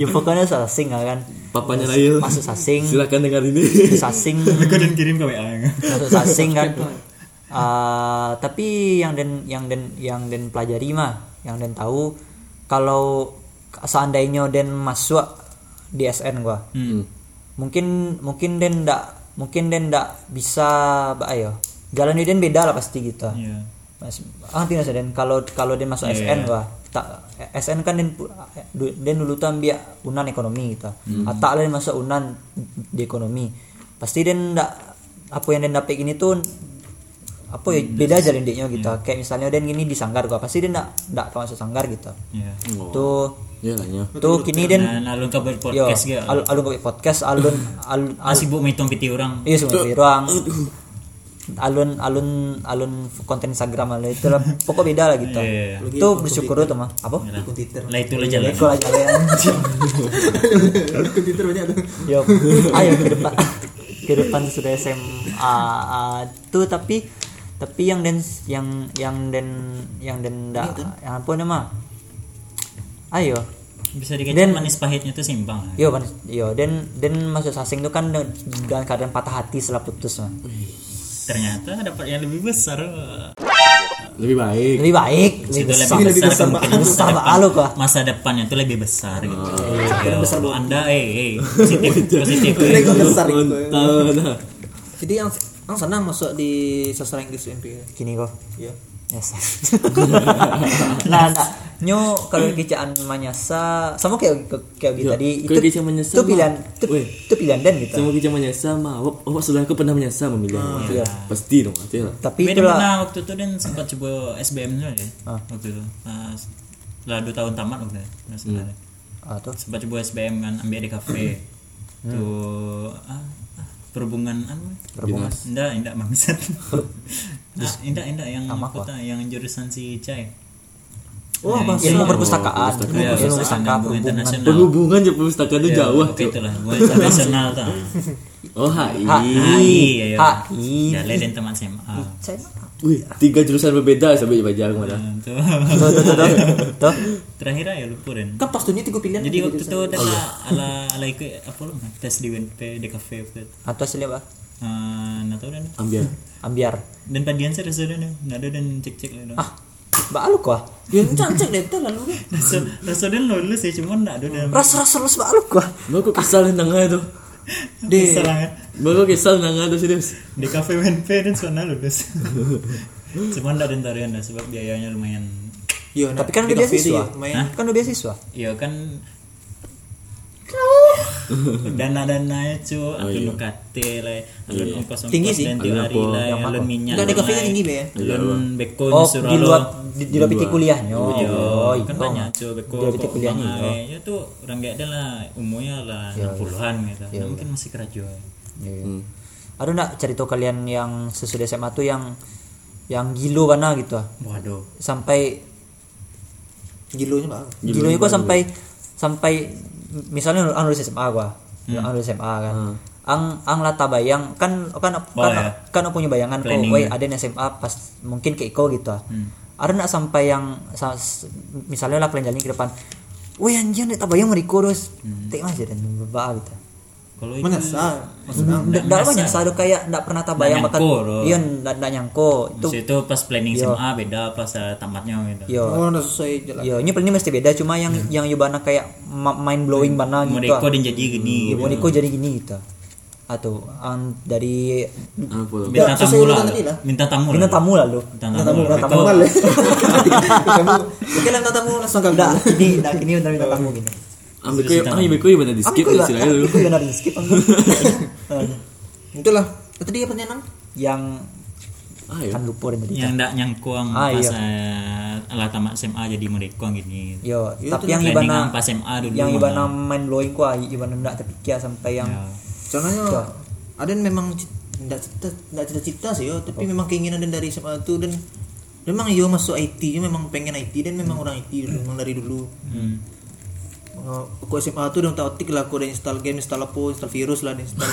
Speaker 1: ya pokoknya sasing lah kan
Speaker 2: papanya Rahil
Speaker 1: masuk sasing
Speaker 2: [LAUGHS] silakan dengar ini [LAUGHS]
Speaker 1: sasing
Speaker 3: aku dan kirim ke WA
Speaker 1: masuk sasing kan Ah, tapi yang den yang den yang den pelajari mah yang den tahu kalau seandainya den masuk di SN gua
Speaker 2: Hmm.
Speaker 1: mungkin mungkin den ndak mungkin den ndak bisa ba ayo jalan den beda lah pasti gitu
Speaker 3: ya
Speaker 1: [LAUGHS] Mas, ah tidak den kalau kalau den masuk SN gua tak SN kan den pu- du- den dulu tuh ambil unan ekonomi gitu Ah, tak lain masuk unan di ekonomi pasti den ndak apa yang den dapat gini tuh apa ya beda aja den diknya gitu kayak misalnya den gini di sanggar gua pasti den ndak ndak akan masuk sanggar gitu
Speaker 3: ya
Speaker 1: tuh
Speaker 2: ya lah ya
Speaker 1: tuh kini den
Speaker 3: nah lalu ke
Speaker 1: yo
Speaker 3: berpodcast gak
Speaker 1: al- alun kopi podcast alun alun alun
Speaker 3: masih bu menghitung piti orang
Speaker 1: Iya semua di ruang. Alun alun alun konten Instagram alun itu lah. Pokok beda lah gitu.
Speaker 3: Iya,
Speaker 1: Itu bersyukur tuh mah. Apa?
Speaker 4: akun Twitter
Speaker 3: lah itu lah jalan
Speaker 1: Kalau aja lah.
Speaker 4: [LAUGHS] akun Twitter banyak tuh
Speaker 1: Yo, ayo ke depan. Ke depan sudah SMA tuh tapi tapi yang dan yang yang dan yang dan
Speaker 4: Iya,
Speaker 1: da,
Speaker 4: kan?
Speaker 1: yang apa nama? Ayo.
Speaker 3: bisa dikatakan manis pahitnya tuh simbang lah.
Speaker 1: Yo, kan, yo, dan dan masuk sasing tuh kan dengan keadaan patah hati setelah putus mah.
Speaker 3: ternyata dapat yang lebih besar
Speaker 2: lebih baik
Speaker 1: Lebih baik,
Speaker 3: itu
Speaker 1: lebih besar,
Speaker 3: lebih besar, kemungkinan
Speaker 1: lebih
Speaker 3: masa
Speaker 1: besar Oh.
Speaker 3: depan
Speaker 1: lo kah?
Speaker 3: masa depannya itu lebih besar gitu Iya, kalau anda eh eh,
Speaker 1: [LAUGHS]
Speaker 3: positif positif eh.
Speaker 4: Mereka besar gitu
Speaker 2: Entah lah.
Speaker 4: jadi yang yang senang masuk di sastra Inggris UMP
Speaker 1: Gini kok.
Speaker 4: ya
Speaker 1: Yes. [LAUGHS] nah, nah, nyu kalau kicaan manyasa sama kayak kayak gitu
Speaker 2: Yo,
Speaker 1: tadi
Speaker 2: kalau kicaan manyasa
Speaker 1: itu
Speaker 2: mah-
Speaker 1: pilihan itu,
Speaker 2: Weh.
Speaker 1: itu pilihan dan gitu.
Speaker 2: sama kita menyesal mah awak awak sudah aku pernah menyesal memilih awak.
Speaker 1: iya.
Speaker 2: pasti dong hati lah
Speaker 1: Tapi
Speaker 3: Beda
Speaker 1: itulah Ah.
Speaker 3: pernah waktu itu dan sempat coba SBM juga ya. Waktu itu. Nah, setelah dua tahun tamat waktu itu. Nah, sebenarnya.
Speaker 1: ah, tuh.
Speaker 3: Sempat coba SBM kan ambil di kafe.
Speaker 1: Hmm.
Speaker 3: Tuh ah, ah, perhubungan anu.
Speaker 1: Perhubungan.
Speaker 3: Enggak, enggak
Speaker 1: [LAUGHS]
Speaker 3: bangsat. Nah, enggak, enggak yang kota yang jurusan si Nah, Cai.
Speaker 4: oh bahasa
Speaker 1: ilmu perpustakaan, ilmu
Speaker 3: Iya,
Speaker 1: ilmu
Speaker 3: perpustakaan,
Speaker 1: perpustakaan
Speaker 3: ilmu
Speaker 1: perhubungan.
Speaker 3: internasional. Ya,
Speaker 2: penghubungan je perpustakaan tu jauh lah,
Speaker 3: Oke itulah, gua internasional tau.
Speaker 1: [LAUGHS]
Speaker 3: Ah, iya,
Speaker 2: oh hai
Speaker 3: Hai, ayo.
Speaker 1: Hai.
Speaker 3: Jale dan teman ah. SMA.
Speaker 1: Saya
Speaker 2: Wih, tiga jurusan berbeda sampai baca aku mana
Speaker 3: Nah, tuh.
Speaker 1: tuh tuh tuh tuh. tuh.
Speaker 3: Terakhir aja lupa Ren.
Speaker 4: kan pastinya tiga pilihan
Speaker 3: Jadi waktu itu
Speaker 1: Oh,
Speaker 3: ada
Speaker 1: iya.
Speaker 3: ala ala ikut apa lu tes di WNP di kafe waktu itu.
Speaker 1: Atau siapa?
Speaker 3: Eh, Nggak tahu dan
Speaker 2: ambil
Speaker 1: Ambiar.
Speaker 3: dan padian saya rasa dan nggak ada dan cek cek lah dan.
Speaker 4: Ah.
Speaker 1: Ba lu kah?
Speaker 4: ya cantik deh itu lalu
Speaker 3: Rasa rasa dan lulus ya cuman nggak ada dan
Speaker 1: Ras ras ras ba lu kah?
Speaker 2: mau aku kesal dengan lah tu
Speaker 3: kesalahan
Speaker 2: mau aku kesal dengan lah tu serius
Speaker 3: ya. di kafe WNP dan sana lulus. [LAUGHS] cuman nggak ada tarian dah sebab biayanya lumayan.
Speaker 4: ya
Speaker 1: Tapi kan udah beasiswa. Kan udah beasiswa.
Speaker 3: Iya kan dana dananya ya, cu alun nukate lah ya. alun ongkos
Speaker 4: Tinggi
Speaker 3: ongkos
Speaker 4: sih.
Speaker 3: dan tiap hari lah ya, alun minyak
Speaker 4: Nggak, di
Speaker 3: lah,
Speaker 4: kafe tinggi, Be, ya?
Speaker 3: alun beko
Speaker 1: Oh,
Speaker 3: nyuruh
Speaker 1: di
Speaker 3: alun.
Speaker 1: luar di, di luar piti kuliahnya. Oh,
Speaker 3: kan
Speaker 1: iya.
Speaker 3: banyak cuy beko
Speaker 1: Dia
Speaker 3: kok
Speaker 1: bikin kuliahnya,
Speaker 3: bang ae. ya tuh orang gak ada lah umurnya lah enam puluhan gitu Nah, mungkin masih kerajo
Speaker 1: Iya, iya.
Speaker 3: Hmm.
Speaker 1: Aduh nak cerita kalian yang sesudah SMA tuh yang yang gilo mana gitu ah.
Speaker 3: waduh
Speaker 1: sampai
Speaker 4: gilonya pak
Speaker 1: gilo gua sampai sampai misalnya anu, ang lulus SMA gua
Speaker 3: Hmm.
Speaker 1: ang lulus SMA kan ang ang lata bayang kan kan
Speaker 3: Oh,
Speaker 1: kan,
Speaker 3: ya.
Speaker 1: kan aku punya bayangan kok
Speaker 3: Planning, Hmm.
Speaker 1: woi
Speaker 3: ya.
Speaker 1: ada yang SMA pas mungkin ke Iko gitu ah ada nak sampai yang sa- s- misalnya
Speaker 3: Hmm.
Speaker 1: lah kalian jalan ke depan woi anjir nek tabayang mau Iko terus tek aja dan berbaa gitu
Speaker 3: kalau
Speaker 4: Iya.
Speaker 3: itu
Speaker 4: menyesal
Speaker 1: Ndak ndak banyak sadu kayak ndak pernah tabayang
Speaker 3: Ndak
Speaker 1: bakal
Speaker 3: nyangko, loh.
Speaker 1: iya ndak ndak nyangko itu
Speaker 3: Maksud itu pas planning SMA beda pas eh, tamatnya gitu
Speaker 1: iya
Speaker 4: oh udah sesuai jalan
Speaker 1: iya ini paling mesti beda cuma yang yang Yubana kayak ma- mind blowing bana gitu
Speaker 3: Modeko
Speaker 1: ah.
Speaker 3: dan jadi gini
Speaker 1: Iya,
Speaker 3: gitu.
Speaker 1: Moniko jadi gini gitu atau an- dari
Speaker 2: Ah, Apa lo?
Speaker 3: minta
Speaker 1: Iya,
Speaker 4: Ya, sesuai
Speaker 3: tamu lah
Speaker 4: dengan tadi lah.
Speaker 3: minta tamu lah
Speaker 1: bintang tamu lah lo
Speaker 3: minta tamu lah.
Speaker 1: bintang tamu
Speaker 3: Itu-
Speaker 1: [LAUGHS] lah
Speaker 4: kamu oke lah tamu langsung kamu
Speaker 1: ndak ini ndak ini udah bintang tamu gini
Speaker 2: Ambil kau, ah ibu kau ibu di skip
Speaker 1: Angku lah
Speaker 2: istilahnya dulu.
Speaker 1: aku yang dari skip angku.
Speaker 4: itulah tadi apa pertanyaan Ang?
Speaker 1: yang
Speaker 2: Ayo.
Speaker 1: kan lupa yang tadi
Speaker 3: yang ndak nyangkuang
Speaker 1: Ah,
Speaker 3: pas
Speaker 1: iya.
Speaker 3: eh, lah tamat SMA jadi Modeko gini
Speaker 1: Yo,
Speaker 4: Iya,
Speaker 1: tapi
Speaker 4: itu
Speaker 1: yang
Speaker 3: planning
Speaker 1: Ibana
Speaker 3: yang pas SMA dulu
Speaker 1: yang
Speaker 3: malah.
Speaker 1: Ibana main blowing ku ah, Ibana ndak terpikir sampai yang
Speaker 3: Ya.
Speaker 4: soalnya ada yang memang tidak cita tidak cita-cita sih
Speaker 3: Oh.
Speaker 4: yo tapi memang keinginan dan dari SMA itu dan memang yo masuk IT yo memang pengen IT dan memang orang IT dulu, memang dari dulu
Speaker 3: Hmm.
Speaker 4: Eh, aku SMA tuh udah otak lah aku udah install game install apa install virus lah udah install
Speaker 3: [LAUGHS]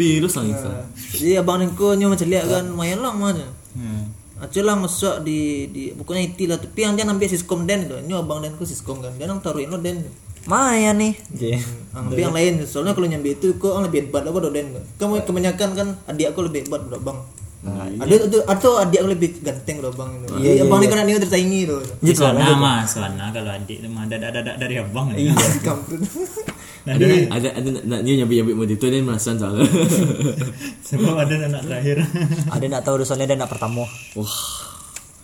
Speaker 2: Virus lah Insta.
Speaker 4: jadi abang dan aku nyoba celik kan lumayan lang mana
Speaker 3: Hmm.
Speaker 4: Acu lah masuk di di bukunya IT lah tapi yang dia ambil siskom den tu nyo abang dan aku siskom kan dia nang taruhin lo den
Speaker 1: Maya nih. [LAUGHS]
Speaker 4: ambil Ah, yang lain soalnya kalau nyambi itu kok orang lebih hebat apa do den tu. kamu kebanyakan kan adik aku lebih hebat bro bang ada atau, atau adik aku lebih ganteng bro bang itu iya, abang ni kan dia tersaingi tu
Speaker 3: Di Kelana mah, Kelana kalau adik mah ada ada ada dari abang. [LAUGHS] Iya.
Speaker 4: kampret
Speaker 2: Ada ada ada nak- nak dia nyabik nyabik mode tu dan merasan [LAUGHS] soalnya.
Speaker 3: Sebab ada anak terakhir.
Speaker 1: [LAUGHS] Ada ndak tahu urusannya dan ndak pertama.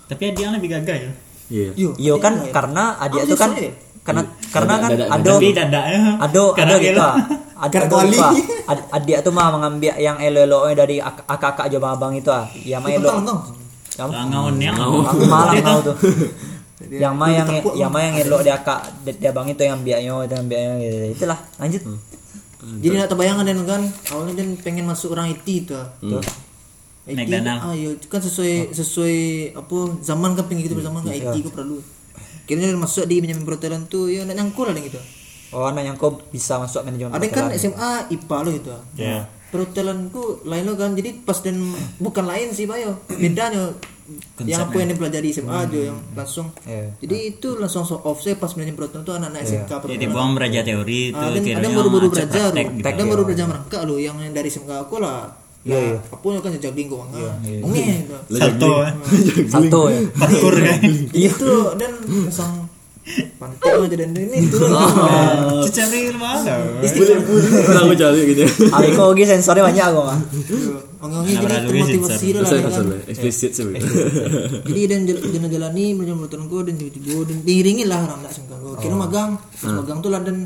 Speaker 3: Tapi adik yang lebih gagah ya.
Speaker 2: Iya.
Speaker 4: yo ya?
Speaker 1: Iya kan karena adik itu kan
Speaker 4: Adik saya.
Speaker 1: karena karena kan
Speaker 2: Dadak- dadak-
Speaker 1: ada
Speaker 3: Tapi dadak ya.
Speaker 1: ada ada
Speaker 3: Kadang
Speaker 1: gitu.
Speaker 3: elok.
Speaker 1: ah. Ada ada
Speaker 4: Kerkoli.
Speaker 1: gitu. ah. Ad- Adik itu mah mengambil yang elo-elo dari ak- akak-akak jom abang itu ah. Yang mah elo.
Speaker 4: tentang tentang
Speaker 1: Yang
Speaker 3: Langaon yang.
Speaker 1: aku malang mau tuh. Yang mah yang
Speaker 4: Tepuk.
Speaker 1: yang mah yang elo dia akak dia dia abang itu yang biaknya itu yang biaknya gitu. Itulah lanjut.
Speaker 4: Jadi nak terbayangkan dan kan awalnya dan pengen masuk orang IT itu. Hmm. IT,
Speaker 3: McDonald.
Speaker 4: Ah, ya, itu kan sesuai sesuai apa zaman kan pengen gitu berzaman kan IT ke perlu. Kira dia masuk di manajemen perhotelan tu ya nak nyangkul lah dia gitu.
Speaker 1: Oh, anak yang kau bisa masuk manajemen.
Speaker 4: Ada kan
Speaker 1: perhotelan.
Speaker 4: SMA IPA lo gitu.
Speaker 3: Nah, Ya.
Speaker 4: Perhotelan ku lain lo kan jadi pas dan bukan lain sih bayo bedanya yang apa yang dipelajari SMA aja
Speaker 3: Hmm.
Speaker 4: yang langsung.
Speaker 3: Ya.
Speaker 1: Iya.
Speaker 4: Jadi itu langsung so off saya pas manajemen perhotelan tu anak-anak SMK perhotelan.
Speaker 3: Jadi buang beraja teori itu
Speaker 4: Ah, dan
Speaker 3: kira
Speaker 4: ada baru-baru belajar
Speaker 3: praktek
Speaker 4: loh.
Speaker 3: gitu.
Speaker 4: ada baru belajar merangkak loh yang yang dari SMK aku lah ya aku kan jajakin keuangan
Speaker 3: Ya, [LAUGHS]
Speaker 4: Ongeng, gitu.
Speaker 3: Salto. eh.
Speaker 1: Salto ya.
Speaker 3: Parkur kan.
Speaker 4: itu dan langsung pantai aja dan ini itu
Speaker 3: [LAUGHS]
Speaker 4: loh. Iya.
Speaker 3: Cicari mana?
Speaker 2: Tahu cari gitu.
Speaker 1: Hari kau lagi sensornya banyak kau mah.
Speaker 4: Ongeng-ongeng
Speaker 3: Nah,
Speaker 4: jadi
Speaker 3: berlalu
Speaker 4: termotivasi lah
Speaker 2: Saya
Speaker 4: ya
Speaker 2: kasar
Speaker 4: kan
Speaker 2: lah. Explicit sih.
Speaker 4: jadi dan jal- dan jalani macam menurut aku dan tiba-tiba dan diiringi lah orang tak sangka Gua kira magang Pas magang tuh lah dan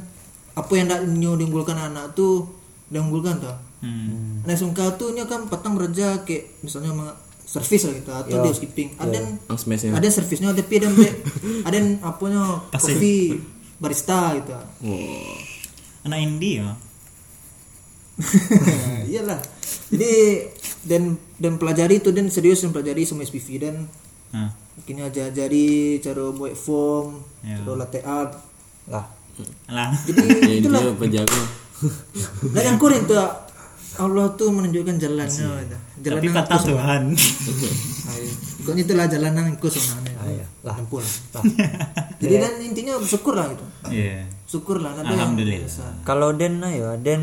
Speaker 4: apa yang tak nyu diunggulkan anak tuh diunggulkan tuh
Speaker 3: Hmm.
Speaker 4: Nah SMK tuh ini kan petang bekerja kayak misalnya sama service lah gitu atau dia skipping. Ada
Speaker 2: Ang smashnya.
Speaker 4: ada servisnya ada pi ada bre- ada yang apanya
Speaker 3: Pasif.
Speaker 4: kopi barista gitu.
Speaker 2: Wah.
Speaker 3: Anak indie ya.
Speaker 4: Nah, iyalah. Jadi dan dan pelajari itu dan serius dan pelajari semua SPV dan
Speaker 3: Nah.
Speaker 4: mungkin aja jadi cara buat form,
Speaker 3: Ya.
Speaker 4: cara latte art.
Speaker 1: Lah,
Speaker 3: Lah.
Speaker 4: Jadi
Speaker 2: Yang dia penjaga.
Speaker 4: dan yang kurang itu Allah tuh menunjukkan jalannya gitu. Jalan
Speaker 3: Tapi ah.
Speaker 4: yang Iya.
Speaker 3: kata Tuhan.
Speaker 4: Ayo. Pokoknya itulah gitu jalan yang ikut sama Ayo. Ah, iya. Lah. Iya. Tempuh lah.
Speaker 3: [LAUGHS]
Speaker 4: Jadi dan intinya bersyukur lah gitu.
Speaker 3: Iya.
Speaker 4: Syukur lah. Nada yang-
Speaker 3: Alhamdulillah.
Speaker 1: kalau Den lah ya, Den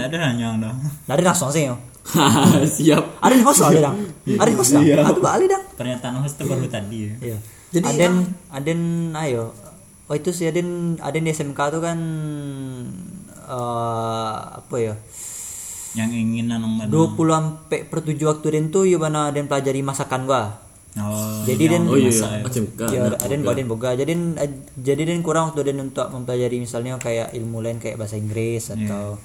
Speaker 3: Nggak ada nanya dah.
Speaker 1: dari langsung sih ya.
Speaker 2: Hahaha, [LAUGHS] Siap.
Speaker 1: Ada di host ada dang. Ada di host dang. Aku balik dang.
Speaker 3: Pernyataan host itu baru tadi ya.
Speaker 1: Iya. Jadi Aden Aden ayo. Oh itu si Aden Aden di SMK tuh kan eh apa ya?
Speaker 3: Yang ingin nomor
Speaker 1: 20 sampai per 7 waktu Den tuh ya mana Aden pelajari masakan gua.
Speaker 3: Oh,
Speaker 1: Jadi Den
Speaker 2: Oh iya, iya. macam kan.
Speaker 1: Ya, Aden boga Aden boga. Jadi jadi Den kurang waktu Den untuk mempelajari misalnya kayak ilmu lain kayak bahasa Inggris atau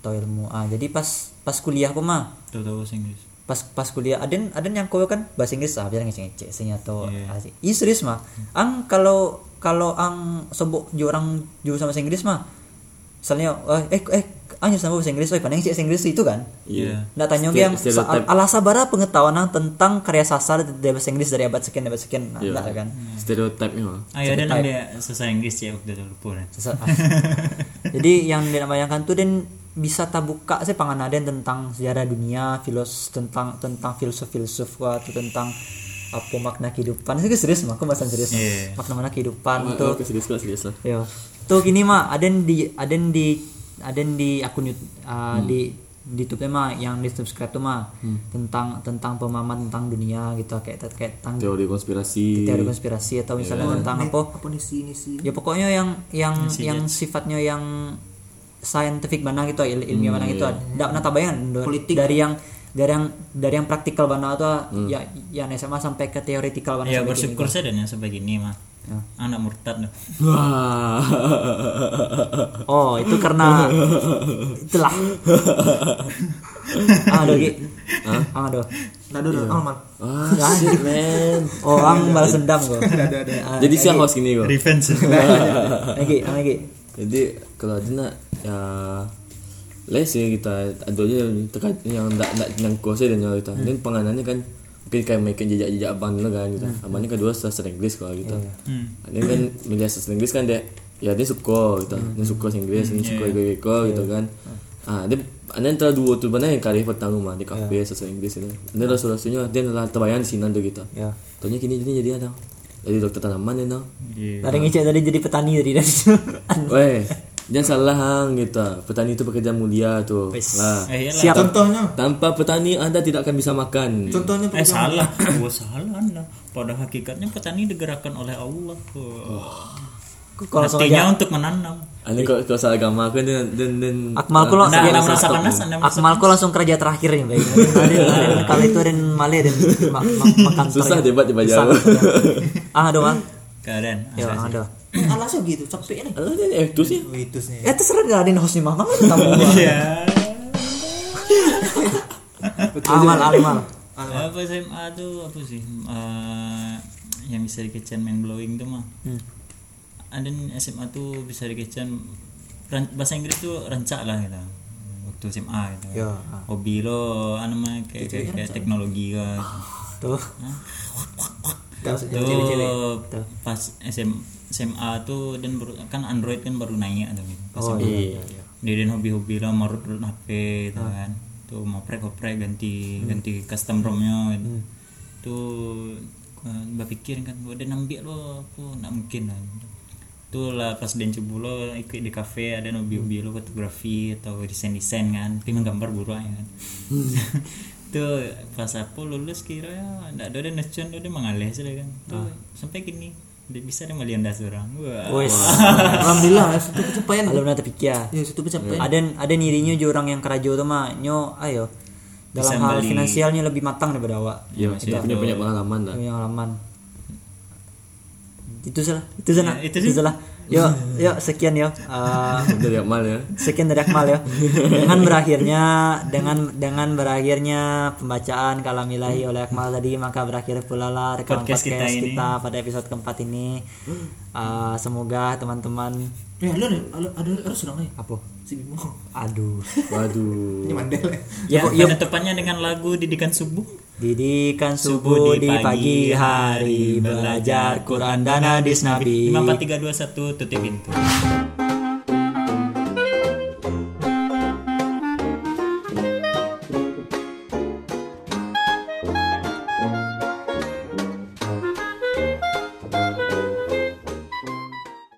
Speaker 1: atau ilmu ah. Jadi pas pas kuliah aku mah
Speaker 3: tahu tahu bahasa Inggris.
Speaker 1: pas pas kuliah aden aden yang kau kan bahasa Inggris ah biar ngecek ngecek sih atau asik. Ih, serius mah ang kalau kalau ang sobok ju orang ju sama bahasa Inggris mah misalnya eh eh, eh ang ju sama bahasa Inggris oi pandai ngecek bahasa Inggris itu kan
Speaker 2: Iya.
Speaker 1: Nggak tanya
Speaker 2: Stere-
Speaker 1: yang soal
Speaker 2: stereotype.
Speaker 1: alas sabara pengetahuan ang tentang karya sastra dari bahasa Inggris dari abad sekian abad sekian nah, nggak kan
Speaker 2: Stereotipnya.
Speaker 3: Ah ya ada nanti selesai Inggris ya waktu itu lupa kan.
Speaker 1: Sesa-
Speaker 3: [LAUGHS]
Speaker 1: ah. Jadi yang dia nak bayangkan tuh dan bisa tak buka sih pangan Aden tentang sejarah dunia, filos tentang tentang filsuf-filsuf wah, atau tentang apa makna kehidupan. Saya serius mah, aku bahasan serius. mah.
Speaker 3: Iya.
Speaker 1: Makna mana kehidupan
Speaker 2: Oke,
Speaker 1: tuh. Iya.
Speaker 2: serius lah, serius lah.
Speaker 1: Yo. Tuh gini mah, Aden di Aden di ada yang di akun YouTube ah,
Speaker 3: Hmm.
Speaker 1: di di YouTube mah yang di subscribe tuh mah tentang tentang pemahaman tentang dunia gitu kayak kayak tentang
Speaker 2: teori konspirasi
Speaker 1: teori konspirasi atau misalnya
Speaker 3: Iya.
Speaker 1: tentang apa
Speaker 4: apa nih sih ini sih
Speaker 1: ya pokoknya yang yang yang sifatnya yang scientific mana gitu il ilmiah mana gitu tidak pernah tabayang
Speaker 4: Politik.
Speaker 1: dari yang dari yang dari yang praktikal mana atau ya yang SMA sampai ke teoretikal mana
Speaker 3: ya
Speaker 1: sampai gini.
Speaker 3: bersyukur saya dan yang sebegini mah
Speaker 1: Ah.
Speaker 3: anak murtad loh
Speaker 2: Wah. [LAUGHS]
Speaker 1: oh itu karena itulah ah aduh Gi. ah aduh
Speaker 4: nado nado
Speaker 3: Iya.
Speaker 4: alman
Speaker 2: Wah, shit, man.
Speaker 1: oh ang balas dendam gua
Speaker 2: Jadi siapa host gini kok?
Speaker 3: [LAUGHS] revenge
Speaker 1: lagi lagi
Speaker 2: Jadi kalau ada nak ya les ya kita ada aja yang terkait yang tak tak yang kuasa dan yang kita. Dan penganannya kan mungkin kayak mereka jejak-jejak abang dulu kan kita. Abangnya kedua sastra Inggris kalau kita. Ini kan media sastra Inggris kan dia ya dia suka gitu. Dia suka sastra Inggris, dia suka Ego gitu kan. Ah, dia anda antara dua tu benar yang karya petang rumah di kafe sastra Inggris ini. Dia rasul-rasulnya dia adalah terbayang sinan tu kita.
Speaker 1: ya
Speaker 2: Tanya kini jadi jadi ada. Jadi dokter tanaman ya tau.
Speaker 3: Iya.
Speaker 1: dari ngecek tadi [LAUGHS] jadi petani dari dari
Speaker 2: Weh, Eh, jangan salah hang kita. Petani itu pekerjaan mulia tu. Lah.
Speaker 3: eh iyalah.
Speaker 1: siap
Speaker 4: contohnya
Speaker 2: Tanpa petani anda tidak akan bisa makan.
Speaker 4: contohnya
Speaker 3: eh salah gua salah anda pada hakikatnya petani digerakkan oleh Allah
Speaker 1: kalau
Speaker 3: artinya untuk menanam
Speaker 2: Anda kau kau salah agama kan dan dan dan. Ah,
Speaker 1: Akmal kok
Speaker 3: anda anda
Speaker 1: langsung
Speaker 3: merasa panas anda merasa
Speaker 1: Akmal kok langsung kerja terakhir nih baik. Ada- ada-
Speaker 3: [LAUGHS]
Speaker 1: Kalau itu ada Malay dan makan
Speaker 2: Susah debat di Bajau.
Speaker 1: Ah ada bang.
Speaker 3: keadaan
Speaker 1: Ya ada.
Speaker 4: alasnya gitu capek nih
Speaker 2: Alah dan eh tu sih.
Speaker 4: itu sih
Speaker 1: Ya terserah gak ada yang hostnya mama kan tamu.
Speaker 3: iya
Speaker 1: Amal Amal.
Speaker 3: apa SMA tuh apa sih eh, yang bisa dikecan main blowing tuh mah
Speaker 1: Hmm.
Speaker 3: ada nih SMA tuh bisa dikecan ran- bahasa Inggris tuh rencak lah gitu waktu SMA gitu
Speaker 1: Ya.
Speaker 3: hobi lo anu mah kayak, kayak, kayak teknologi lah
Speaker 1: Tuh. [LAUGHS]
Speaker 3: gitu. tuh pas SM, SMA tuh dan baru- kan Android kan baru naik tuh gitu. pas
Speaker 1: Oh iya. Ah.
Speaker 3: Deden hobi-hobi lah marut-marut HP gitu kan. Tuh mau prek-prek ganti
Speaker 1: Hmm.
Speaker 3: ganti custom romnya gitu. Tuh kan, berpikir kan gua ada nambik lo aku nggak mungkin kan. Tuh lah pas dan cebu lo ikut di kafe ada hobi-hobi lo fotografi atau desain-desain kan. Tapi gambar buru aja kan. [LAUGHS] tuh pas aku lulus kira ya nggak ada dan nacun ada mengalir saja kan. Tuh sampai gini dia bisa ada melian dasar orang. Wah.
Speaker 1: Wes.
Speaker 4: alhamdulillah ya, satu pencapaian
Speaker 1: Alumni tapi kia.
Speaker 3: Iya.
Speaker 4: ya satu pencapaian
Speaker 1: Iya, Ada ada nirinya jurang yang kerajo tuh mah nyo ayo. Dalam hal finansialnya lebih matang daripada awak.
Speaker 3: Iya,
Speaker 2: Ya masih punya punya pengalaman lah.
Speaker 1: Punya halaman. Itu salah. Itu salah.
Speaker 3: Ya, itu
Speaker 1: Itu
Speaker 3: sih.
Speaker 1: salah.
Speaker 3: [LAUGHS]
Speaker 1: Yuk, yuk sekian ya. Eh,
Speaker 2: Dari Akmal ya.
Speaker 1: sekian dari Akmal ya dengan berakhirnya dengan dengan berakhirnya pembacaan kalam ilahi oleh Akmal tadi maka berakhir pula lah rekaman podcast,
Speaker 3: Podcast kita
Speaker 1: kita,
Speaker 3: ini.
Speaker 1: pada episode keempat ini Uh, semoga teman-teman
Speaker 4: ya lu nih ada harus sedang nih
Speaker 1: apa
Speaker 4: si bimo [LAUGHS]
Speaker 1: aduh
Speaker 2: Waduh.
Speaker 4: ini mandel ya
Speaker 3: Ya, penutupannya dengan lagu didikan subuh.
Speaker 1: didikan subuh di pagi hari belajar Quran dan hadis Nabi
Speaker 3: 5, 4, 3, 2, 1, tutup pintu.